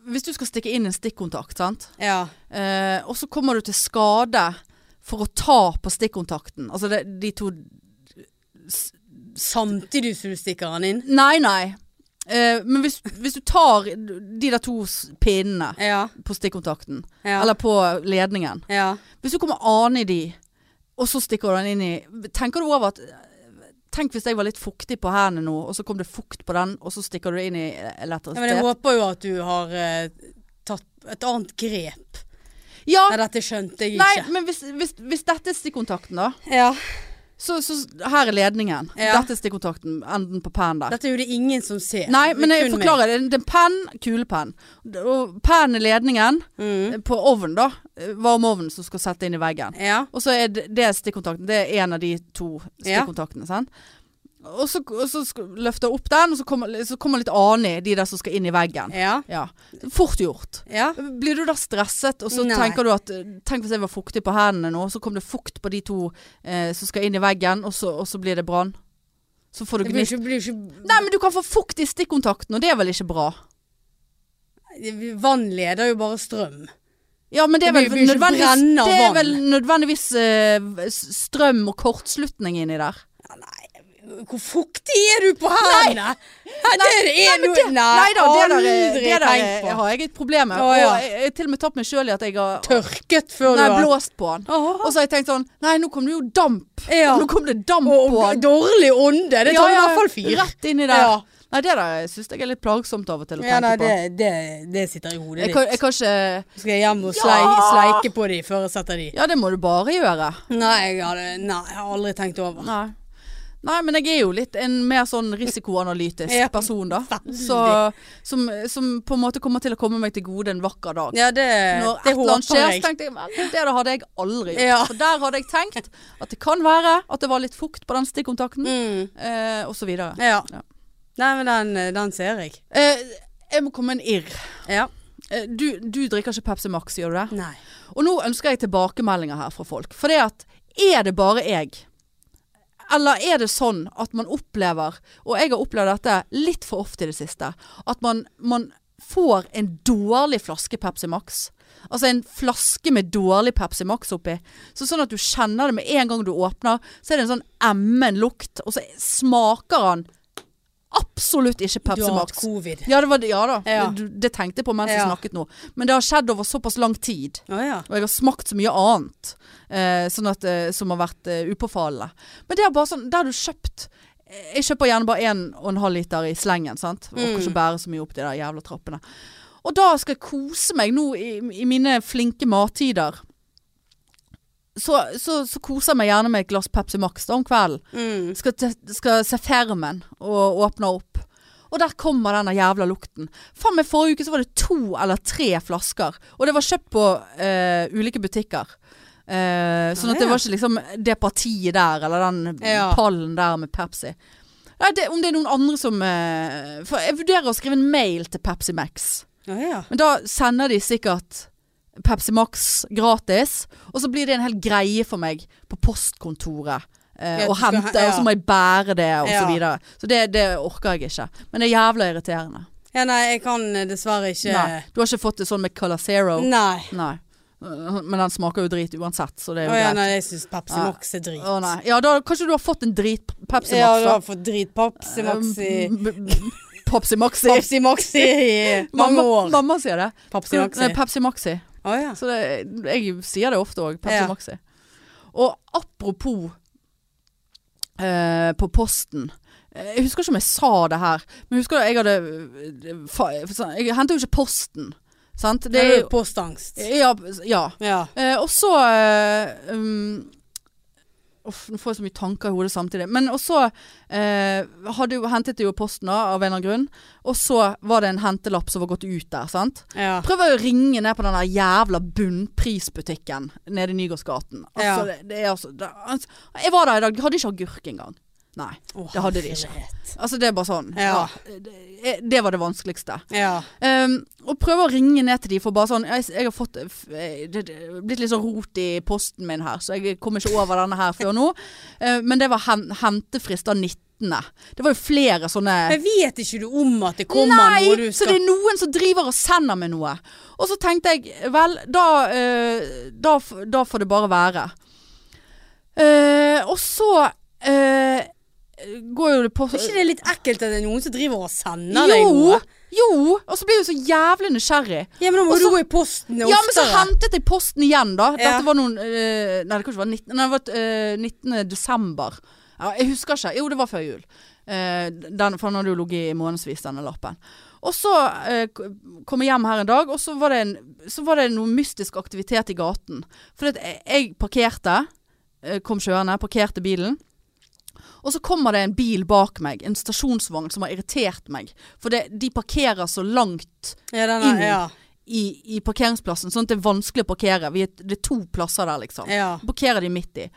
Speaker 1: Hvis du skal stikke inn en stikkontakt, sant?
Speaker 2: Ja.
Speaker 1: Eh, og så kommer du til skade for å ta på stikkontakten. Altså det, de to
Speaker 2: Samtidig som du stikker den inn.
Speaker 1: Nei, nei. Eh, men hvis, hvis du tar de der to s- pinnene
Speaker 2: Ja.
Speaker 1: på stikkontakten,
Speaker 2: Ja.
Speaker 1: eller på ledningen
Speaker 2: ja.
Speaker 1: Hvis du kommer an i de, og så stikker du den inn i Tenker du over at Tenk hvis jeg var litt fuktig på hendene nå, og så kom det fukt på den, og så stikker du det inn i
Speaker 2: ja. Men jeg
Speaker 1: elektrisitet.
Speaker 2: håper jo at du har eh, tatt et annet grep.
Speaker 1: Ja,
Speaker 2: Nei, dette skjønte jeg
Speaker 1: nei,
Speaker 2: ikke.
Speaker 1: men hvis, hvis, hvis dette er stikkontakten, da.
Speaker 2: Ja.
Speaker 1: Så, så her er ledningen.
Speaker 2: Ja.
Speaker 1: Dette er stikkontakten. Enden på pennen der.
Speaker 2: Dette er jo det ingen som ser.
Speaker 1: Nei, men jeg
Speaker 2: Kun meg.
Speaker 1: forklarer. Det Det er en penn, kulepenn. Og pennen er ledningen
Speaker 2: Mm.
Speaker 1: på ovnen, da. Varmeovnen som skal sette inn i veggen.
Speaker 2: Ja.
Speaker 1: Og så er det, det er stikkontakten. Det er en av de to stikkontaktene. Sant? Og så, og så sk- løfter jeg opp den, og så kommer, så kommer litt annen i de der som skal inn i veggen.
Speaker 2: Ja.
Speaker 1: Ja. Fort gjort.
Speaker 2: Ja.
Speaker 1: Blir du da stresset, og så
Speaker 2: Nei.
Speaker 1: tenker du at eh, Tenk hvis jeg var fuktig på hendene nå, og så kom det fukt på de to eh, som skal inn i veggen, og så, og så blir det brann. Så får
Speaker 2: Det
Speaker 1: du
Speaker 2: blir
Speaker 1: gnist.
Speaker 2: ikke, blir ikke
Speaker 1: Nei, men du kan få fukt i stikkontakten, og det er vel ikke bra?
Speaker 2: Vann leder jo bare strøm.
Speaker 1: Ja, men det er
Speaker 2: Det
Speaker 1: vel,
Speaker 2: blir- blir ikke
Speaker 1: nødvendigvis,
Speaker 2: brennende
Speaker 1: det er
Speaker 2: vann.
Speaker 1: vel nødvendigvis eh, s- strøm og kortslutning inni der.
Speaker 2: Ja, Nei, hvor fuktig er du på hendene? Nei, det er
Speaker 1: Nei, men
Speaker 2: noe
Speaker 1: det,
Speaker 2: Nei,
Speaker 1: nei da, det der, er-
Speaker 2: aldri
Speaker 1: det der
Speaker 2: tenkt
Speaker 1: er-
Speaker 2: på.
Speaker 1: har jeg et problem med.
Speaker 2: Å,
Speaker 1: Og
Speaker 2: ja.
Speaker 1: jeg jeg har til og med tatt meg sjøl i at jeg har
Speaker 2: Tørket før
Speaker 1: nei,
Speaker 2: du har
Speaker 1: blåst på den.
Speaker 2: Åh,
Speaker 1: Og så har jeg tenkt sånn Nei, nå kom det jo damp.
Speaker 2: ja.
Speaker 1: Nå kom det damp
Speaker 2: Og,
Speaker 1: på
Speaker 2: og dårlig ånde. Det
Speaker 1: Ja,
Speaker 2: tar i
Speaker 1: ja,
Speaker 2: hvert fall fire.
Speaker 1: Rett inni der.
Speaker 2: Ja,
Speaker 1: Nei, det der syns jeg er litt plagsomt av og til å
Speaker 2: ja
Speaker 1: tenke
Speaker 2: nei, det,
Speaker 1: på.
Speaker 2: det, det sitter i hodet
Speaker 1: Jeg kan,
Speaker 2: ditt.
Speaker 1: jeg kan ikke
Speaker 2: Skal jeg hjem og
Speaker 1: Ja!
Speaker 2: slei, sleike på de før jeg setter de?
Speaker 1: Ja, det må du bare gjøre.
Speaker 2: Nei, jeg, hadde, nei, jeg har aldri tenkt over.
Speaker 1: Nei. Nei, men jeg er jo litt en mer sånn risikoanalytisk
Speaker 2: Ja,
Speaker 1: person, da.
Speaker 2: veldig.
Speaker 1: Så, som, som på en måte kommer til å komme meg til gode en vakker dag.
Speaker 2: Ja, det,
Speaker 1: Når
Speaker 2: Eh, det
Speaker 1: et eller annet
Speaker 2: håper
Speaker 1: skjer, så
Speaker 2: jeg.
Speaker 1: tenkte jeg "Vel, det der hadde jeg aldri gjort.
Speaker 2: Ja.
Speaker 1: For der hadde jeg tenkt at det kan være at det var litt fukt på den stikkontakten,
Speaker 2: Mm,
Speaker 1: eh, og så videre.
Speaker 2: ja.
Speaker 1: Ja.
Speaker 2: Nei, men den, den ser jeg.
Speaker 1: Eh, jeg må komme med en irr.
Speaker 2: Ja.
Speaker 1: Eh, du, du drikker ikke Pepsi Max, gjør du det?
Speaker 2: Nei.
Speaker 1: Og nå ønsker jeg tilbakemeldinger her fra folk. For det at er det bare jeg? Eller er det sånn at man opplever, og jeg har opplevd dette litt for ofte i det siste, at man, man får en dårlig flaske Pepsi Max. Altså en flaske med dårlig Pepsi Max oppi. Så sånn at du kjenner det med en gang du åpner, så er det en sånn emmen lukt, og så smaker han absolutt ikke
Speaker 2: Du
Speaker 1: Pepsi
Speaker 2: har hatt
Speaker 1: Max.
Speaker 2: covid.
Speaker 1: Ja, det var, ja da.
Speaker 2: Ja.
Speaker 1: Du, det tenkte jeg på mens jeg
Speaker 2: Ja.
Speaker 1: snakket nå. Men det har skjedd over såpass lang tid.
Speaker 2: Å ja.
Speaker 1: Og jeg har smakt så mye annet eh, sånn at, eh, som har vært eh, upåfallende. Men det er bare sånn, der du kjøpt eh, Jeg kjøper gjerne bare 1,5 liter i slengen, sant. Orker ikke bære så mye opp de der jævla trappene. Og da skal jeg kose meg nå i, i mine flinke mattider. Så, så, så koser jeg meg gjerne med et glass Pepsi Max da om kvelden.
Speaker 2: Mm.
Speaker 1: Skal, te- skal se fermen og åpne opp. Og der kommer denne jævla lukten. Faen meg forrige uke så var det to eller tre flasker. Og det var kjøpt på eh, ulike butikker. Eh, sånn
Speaker 2: Ah,
Speaker 1: at det
Speaker 2: ja.
Speaker 1: var ikke liksom det partiet der, eller den
Speaker 2: Ja.
Speaker 1: pallen der med Pepsi. Nei, det, om det er noen andre som eh, For jeg vurderer å skrive en mail til Pepsi Max.
Speaker 2: Å ja.
Speaker 1: Men da sender de sikkert Pepsi Max gratis, og så blir det en hel greie for meg på postkontoret. Eh,
Speaker 2: Ja,
Speaker 1: og
Speaker 2: du skal
Speaker 1: hente,
Speaker 2: ha- ja.
Speaker 1: og så må jeg bære det, og
Speaker 2: Ja.
Speaker 1: så videre. Så det, det orker jeg ikke. Men det er jævla irriterende.
Speaker 2: Ja, nei, jeg kan eh, dessverre ikke
Speaker 1: Nei. Du har ikke fått det sånn med Color Zero?
Speaker 2: Nei.
Speaker 1: Nei. Øh, Men den smaker jo drit uansett, så det er jo
Speaker 2: Å ja,
Speaker 1: greit.
Speaker 2: nei, jeg syns Pepsi
Speaker 1: Ja.
Speaker 2: Max er drit.
Speaker 1: Å nei. Ja, da kanskje du har fått en drit Pepsi
Speaker 2: ja,
Speaker 1: Max.
Speaker 2: du
Speaker 1: da.
Speaker 2: har fått drit Pepsi Max i
Speaker 1: Popsi Maxi.
Speaker 2: Pepsi Max i mange
Speaker 1: Mamma,
Speaker 2: år.
Speaker 1: mamma sier det.
Speaker 2: Pepsi Max.
Speaker 1: Nei, Pepsi Maxi.
Speaker 2: Å ja.
Speaker 1: Så det, jeg sier det ofte òg. Pepsi
Speaker 2: Ja.
Speaker 1: Maxi. Og apropos eh, på posten. Eh, Jeg husker ikke om jeg sa det her, men husker jeg hadde eh, fa- Jeg henter jo ikke posten, sant?
Speaker 2: Det er jo
Speaker 1: jo
Speaker 2: postangst.
Speaker 1: Ja. ja.
Speaker 2: Ja.
Speaker 1: Eh, og så eh, um, Uff, nå får jeg så mye tanker i hodet samtidig. Men og så eh, hadde jo, hentet jeg jo posten da, av en eller annen grunn. Og så var det en hentelapp som var gått ut der, sant.
Speaker 2: ja.
Speaker 1: Prøver å ringe ned på den der jævla bunnprisbutikken nede i Nygårdsgaten. Altså,
Speaker 2: Ja.
Speaker 1: det, det er altså, det, altså Jeg var der i dag, de hadde ikke agurk engang. Nei.
Speaker 2: Å,
Speaker 1: Det hadde de ikke.
Speaker 2: herlighet.
Speaker 1: Altså, det er bare sånn.
Speaker 2: Ja.
Speaker 1: det, eh, det var det vanskeligste.
Speaker 2: Ja.
Speaker 1: Um, og prøve å ringe ned til de for bare sånn Jeg, jeg har fått f- eh, det, det, blitt litt sånn rot i posten min her, så jeg kom ikke over denne her før nå. Eh, men det var hen, hentefrist av 19. Det var jo flere sånne
Speaker 2: Jeg vet ikke du om at det kommer
Speaker 1: Nei!
Speaker 2: noe du
Speaker 1: Så det
Speaker 2: skal
Speaker 1: er noen som driver og sender meg noe. Og så tenkte jeg vel, da, eh, da, f- da får det bare være. Eh, og så eh, går jo det på
Speaker 2: Er ikke det litt ekkelt at det er noen som driver og sender deg
Speaker 1: Jo!
Speaker 2: noe?
Speaker 1: Jo! Og så blir jeg jo så jævlig nysgjerrig.
Speaker 2: Ja, men da må
Speaker 1: Og så-
Speaker 2: du gå i posten oftere.
Speaker 1: Ja, men så hentet jeg posten igjen da Dette
Speaker 2: Ja.
Speaker 1: var noen eh, Nei, det kanskje var 19, nei, det var, eh, 19. desember ja, Jeg husker ikke Jo, det var før jul Eh, den, For den hadde jo ligget i månedsvis denne lappen Og så eh, k- kom jeg hjem her en dag Og så var det, en, så var det noe mystisk aktivitet i gaten For jeg, jeg parkerte eh, Kom kjørende, parkerte bilen og så kommer det en bil bak meg, en stasjonsvogn som har irritert meg. For det, de parkerer så langt
Speaker 2: ja, den er,
Speaker 1: inn.
Speaker 2: ja,
Speaker 1: i, i parkeringsplassen, sånn at det er vanskelig å parkere. Vi er, det er to plasser der, liksom.
Speaker 2: ja.
Speaker 1: Parkerer de midt i.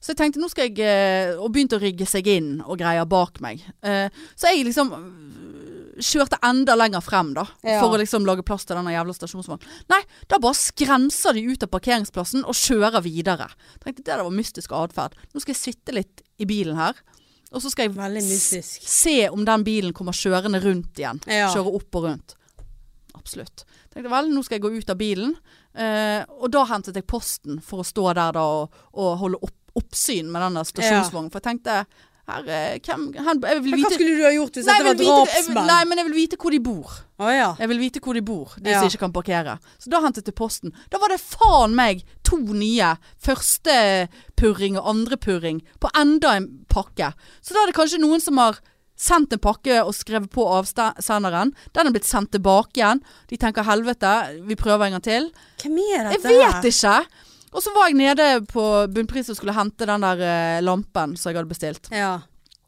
Speaker 1: Så jeg tenkte nå skal jeg eh, Og begynte å rygge seg inn og greier bak meg. Eh, Så jeg liksom øh, kjørte enda lenger frem, da.
Speaker 2: Ja.
Speaker 1: For å liksom lage plass til denne jævla stasjonsvognen. Nei, da bare skrenser de ut av parkeringsplassen og kjører videre. Tenkte det der var mystisk atferd. Nå skal jeg sitte litt i bilen her. Og så skal jeg
Speaker 2: Veldig mystisk.
Speaker 1: se om den bilen kommer kjørende rundt igjen.
Speaker 2: Ja.
Speaker 1: Kjøre opp og rundt. Absolutt. Tenkte vel, nå skal jeg gå ut av bilen. Eh, og da hentet jeg posten for å stå der da og, og holde opp, oppsyn med den der stasjonsvognen. For jeg tenkte her, eh, hvem, hen, jeg vil
Speaker 2: Men hva
Speaker 1: vite,
Speaker 2: skulle du ha gjort hvis
Speaker 1: Nei, jeg
Speaker 2: dette var
Speaker 1: vil vite- jeg vil-
Speaker 2: drapsmenn?
Speaker 1: Nei, men jeg vil vite hvor de bor.
Speaker 2: Å ja.
Speaker 1: Jeg vil vite hvor de bor, de
Speaker 2: Ja.
Speaker 1: som ikke kan parkere. Så da hentet jeg posten. Da var det faen meg to nye. Første purring og andre purring på enda en pakke. Så da er det kanskje noen som har sendt en pakke og skrevet på avsenderen. Den er blitt sendt tilbake igjen. De tenker helvete, vi prøver en gang til.
Speaker 2: Hvem er
Speaker 1: Jeg
Speaker 2: dette?
Speaker 1: vet ikke! Og så var jeg nede på Bunnpris og skulle hente den der eh, lampen som jeg hadde bestilt.
Speaker 2: Ja.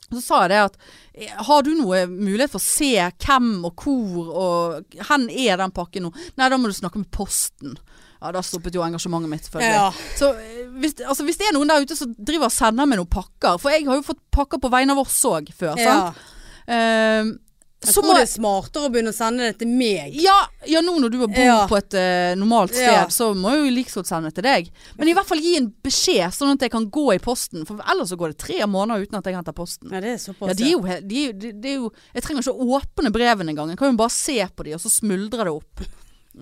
Speaker 1: Så sa jeg det at eh, har du noe mulighet for å se hvem og hvor og hen er den pakken nå? Nei, da må du snakke med posten. Ja, da stoppet jo engasjementet mitt, selvfølgelig.
Speaker 2: Ja.
Speaker 1: Så eh, hvis, altså, hvis det er noen der ute som driver og sender meg noen pakker, for jeg har jo fått pakker på vegne av oss òg før,
Speaker 2: ja.
Speaker 1: sant? Eh,
Speaker 2: Jeg
Speaker 1: så
Speaker 2: tror
Speaker 1: må
Speaker 2: det er smartere å begynne å sende det til meg.
Speaker 1: ja, ja, nå når du bor
Speaker 2: Ja.
Speaker 1: på et eh, normalt sted,
Speaker 2: Ja.
Speaker 1: så må jeg jo like så godt sende til deg. Men i hvert fall gi en beskjed, sånn at jeg kan gå i posten. For ellers så går det tre måneder uten at jeg henter posten.
Speaker 2: Ja, det er såpass.
Speaker 1: Ja, de er jo, he- de, er jo- de, de er jo Jeg trenger ikke å åpne brevene engang. Jeg kan jo bare se på de, og så smuldrer det opp.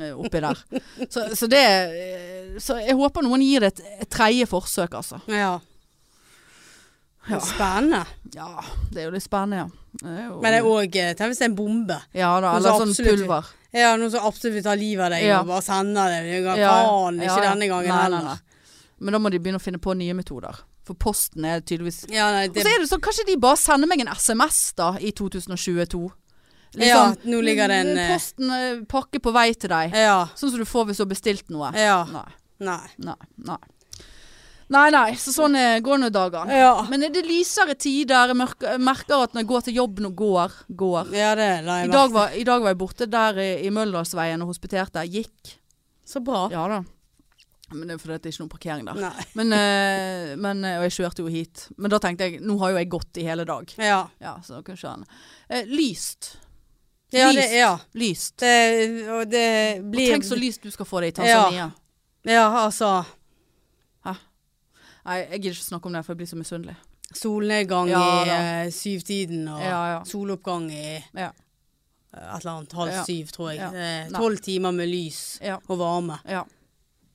Speaker 1: eh, Oppi der. Så, så det eh, Så jeg håper noen gir det et, et tredje forsøk, altså.
Speaker 2: ja.
Speaker 1: Ja.
Speaker 2: Spennende.
Speaker 1: Ja, det er jo litt spennende, ja. Det er jo,
Speaker 2: Men det er òg Tenk hvis det er en bombe.
Speaker 1: ja da,
Speaker 2: noe
Speaker 1: eller
Speaker 2: som
Speaker 1: sånn
Speaker 2: absolutt-
Speaker 1: pulver.
Speaker 2: Ja, noen som absolutt vil ta livet av deg
Speaker 1: Ja.
Speaker 2: og bare sender det. Du kan,
Speaker 1: Ja,
Speaker 2: Faen, ikke
Speaker 1: ja, ja.
Speaker 2: denne gangen
Speaker 1: Nei, nei,
Speaker 2: heller.
Speaker 1: nei. Men da må de begynne å finne på nye metoder. For posten er tydeligvis
Speaker 2: Ja, nei,
Speaker 1: Og
Speaker 2: det,
Speaker 1: så er det sånn, kanskje de bare sender meg en SMS da, i 2022.
Speaker 2: Ja,
Speaker 1: liksom-
Speaker 2: nå ligger det en, eh,
Speaker 1: sånn- Posten eh, pakke på vei til deg.
Speaker 2: ja.
Speaker 1: Sånn som du får hvis du har bestilt noe.
Speaker 2: Ja.
Speaker 1: Nei.
Speaker 2: Nei.
Speaker 1: Nei, nei. Nei, nei, så sånn eh, går nå dagene.
Speaker 2: Ja.
Speaker 1: Men er det lysere tider? Jeg merker, jeg merker at når jeg går til jobb nå går, går.
Speaker 2: ja, det altså. la
Speaker 1: I
Speaker 2: jeg
Speaker 1: dag
Speaker 2: merke.
Speaker 1: var, i dag var jeg borte der i, i Møllerdalsveien og hospiterte. Gikk.
Speaker 2: Så bra.
Speaker 1: Ja da. Men det er fordi at det er ikke noen parkering der.
Speaker 2: Nei.
Speaker 1: Men, eh, men, eh, og jeg kjørte jo hit. Men da tenkte jeg, nå har jo jeg gått i hele dag.
Speaker 2: Ja.
Speaker 1: Ja, så kan jeg skjønne. Eh, lyst.
Speaker 2: Ja, det,
Speaker 1: Lyst.
Speaker 2: ja.
Speaker 1: Lyst.
Speaker 2: Det, og det
Speaker 1: Og
Speaker 2: blir
Speaker 1: tenk så lyst du skal få det i Tanzania.
Speaker 2: Ja, altså.
Speaker 1: Nei, jeg gidder ikke snakke om det, for jeg blir så misunnelig.
Speaker 2: Solnedgang
Speaker 1: Ja,
Speaker 2: i
Speaker 1: da.
Speaker 2: eh, syvtiden og
Speaker 1: Ja, ja.
Speaker 2: soloppgang i eh,
Speaker 1: Ja.
Speaker 2: et eller annet halv
Speaker 1: Ja.
Speaker 2: syv, tror jeg.
Speaker 1: Ja.
Speaker 2: Eh,
Speaker 1: Nei.
Speaker 2: Tolv timer med lys
Speaker 1: Ja.
Speaker 2: og varme.
Speaker 1: ja.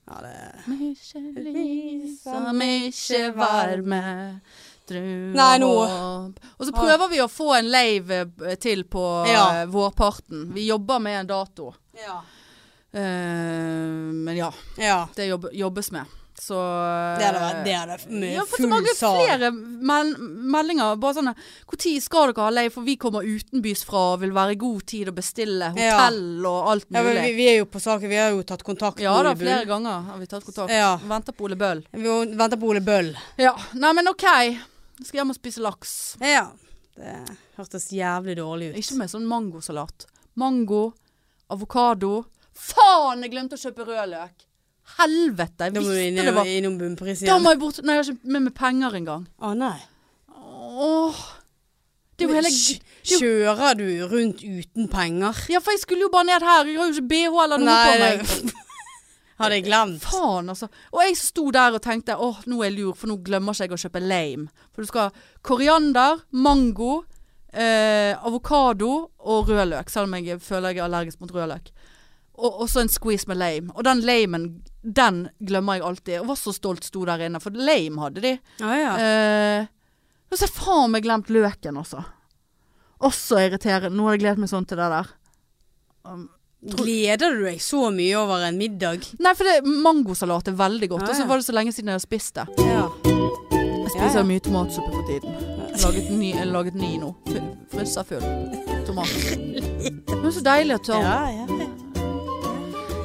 Speaker 2: Ja, det
Speaker 1: Mykje lys og mykje varme. Drua
Speaker 2: Nei, nå.
Speaker 1: opp. Og så prøver vi å få en lave eh, til på
Speaker 2: Ja.
Speaker 1: eh, vårparten. Vi jobber med en dato.
Speaker 2: Ja.
Speaker 1: Eh, men ja,
Speaker 2: ja.
Speaker 1: det jobb, jobbes med. Så
Speaker 2: Det hadde vært det hadde
Speaker 1: Jeg
Speaker 2: med
Speaker 1: har fått Eh, så
Speaker 2: full
Speaker 1: mange
Speaker 2: sal.
Speaker 1: flere mel meldinger. Bare sånn 'Når skal dere ha leie, for vi kommer utenbys fra og vil være i god tid og bestille
Speaker 2: Ja.
Speaker 1: hotell og alt
Speaker 2: Ja, men
Speaker 1: mulig'.
Speaker 2: vi, vi er jo på saken. Vi har jo tatt kontakt
Speaker 1: Ja
Speaker 2: med
Speaker 1: da,
Speaker 2: Ole Bull.
Speaker 1: flere ganger har vi tatt kontakt.
Speaker 2: Ja.
Speaker 1: Venter på Ole Bøll.
Speaker 2: Vi venter på Ole Bøll.
Speaker 1: Ja, nei men ok. Jeg skal hjem og spise laks.
Speaker 2: Ja. Det hørtes jævlig dårlig ut.
Speaker 1: Ikke med sånn mangosalat. Mango, avokado. Faen, jeg glemte å kjøpe rødløk! Helvete, jeg
Speaker 2: Da må du
Speaker 1: visste
Speaker 2: inn-
Speaker 1: det var
Speaker 2: innom bunnpris
Speaker 1: Da
Speaker 2: igjen. Å
Speaker 1: må jeg bort Nei, jeg har ikke med meg penger engang.
Speaker 2: nei.
Speaker 1: Åh. Det er jo
Speaker 2: Men
Speaker 1: hele
Speaker 2: kj- Kjører du rundt uten penger?
Speaker 1: Ja, for jeg skulle jo bare ned her. Jeg har jo ikke BH eller noe på meg.
Speaker 2: det hadde jeg glemt.
Speaker 1: Faen, altså. Og jeg sto der og tenkte åh, nå er jeg lur, for nå glemmer ikke jeg å kjøpe lame. For du skal ha koriander, mango, eh, avokado og rødløk. Selv om jeg føler jeg er allergisk mot rødløk. Og og så en squeeze med lame. Og den lamen, den glemmer jeg alltid. Og var så stolt sto der inne, for lame hadde de.
Speaker 2: Ja, ja.
Speaker 1: Eh, Nå har jeg faen meg glemt løken også. Også irriterende. Nå har jeg gledet meg sånn til det der.
Speaker 2: Gleder du deg så mye over en middag?
Speaker 1: Nei, for det, mangosalat er veldig godt.
Speaker 2: Ja,
Speaker 1: Og så
Speaker 2: ja.
Speaker 1: var det så lenge siden jeg hadde spist det.
Speaker 2: Ja.
Speaker 1: Jeg
Speaker 2: Ja,
Speaker 1: spiser
Speaker 2: ja.
Speaker 1: mye tomatsuppe for tiden. Laget ny, jeg har laget ny nå. Fy- Fryser full. Tomat. Det er så deilig å tørre.
Speaker 2: ja, ja.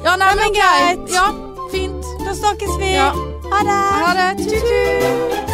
Speaker 1: Ja, nei, men
Speaker 2: men
Speaker 1: greit.
Speaker 2: greit.
Speaker 1: Ja, fint.
Speaker 2: Da snakkes vi.
Speaker 1: Ja.
Speaker 2: Ha det.
Speaker 1: Ha det. Tut-tut.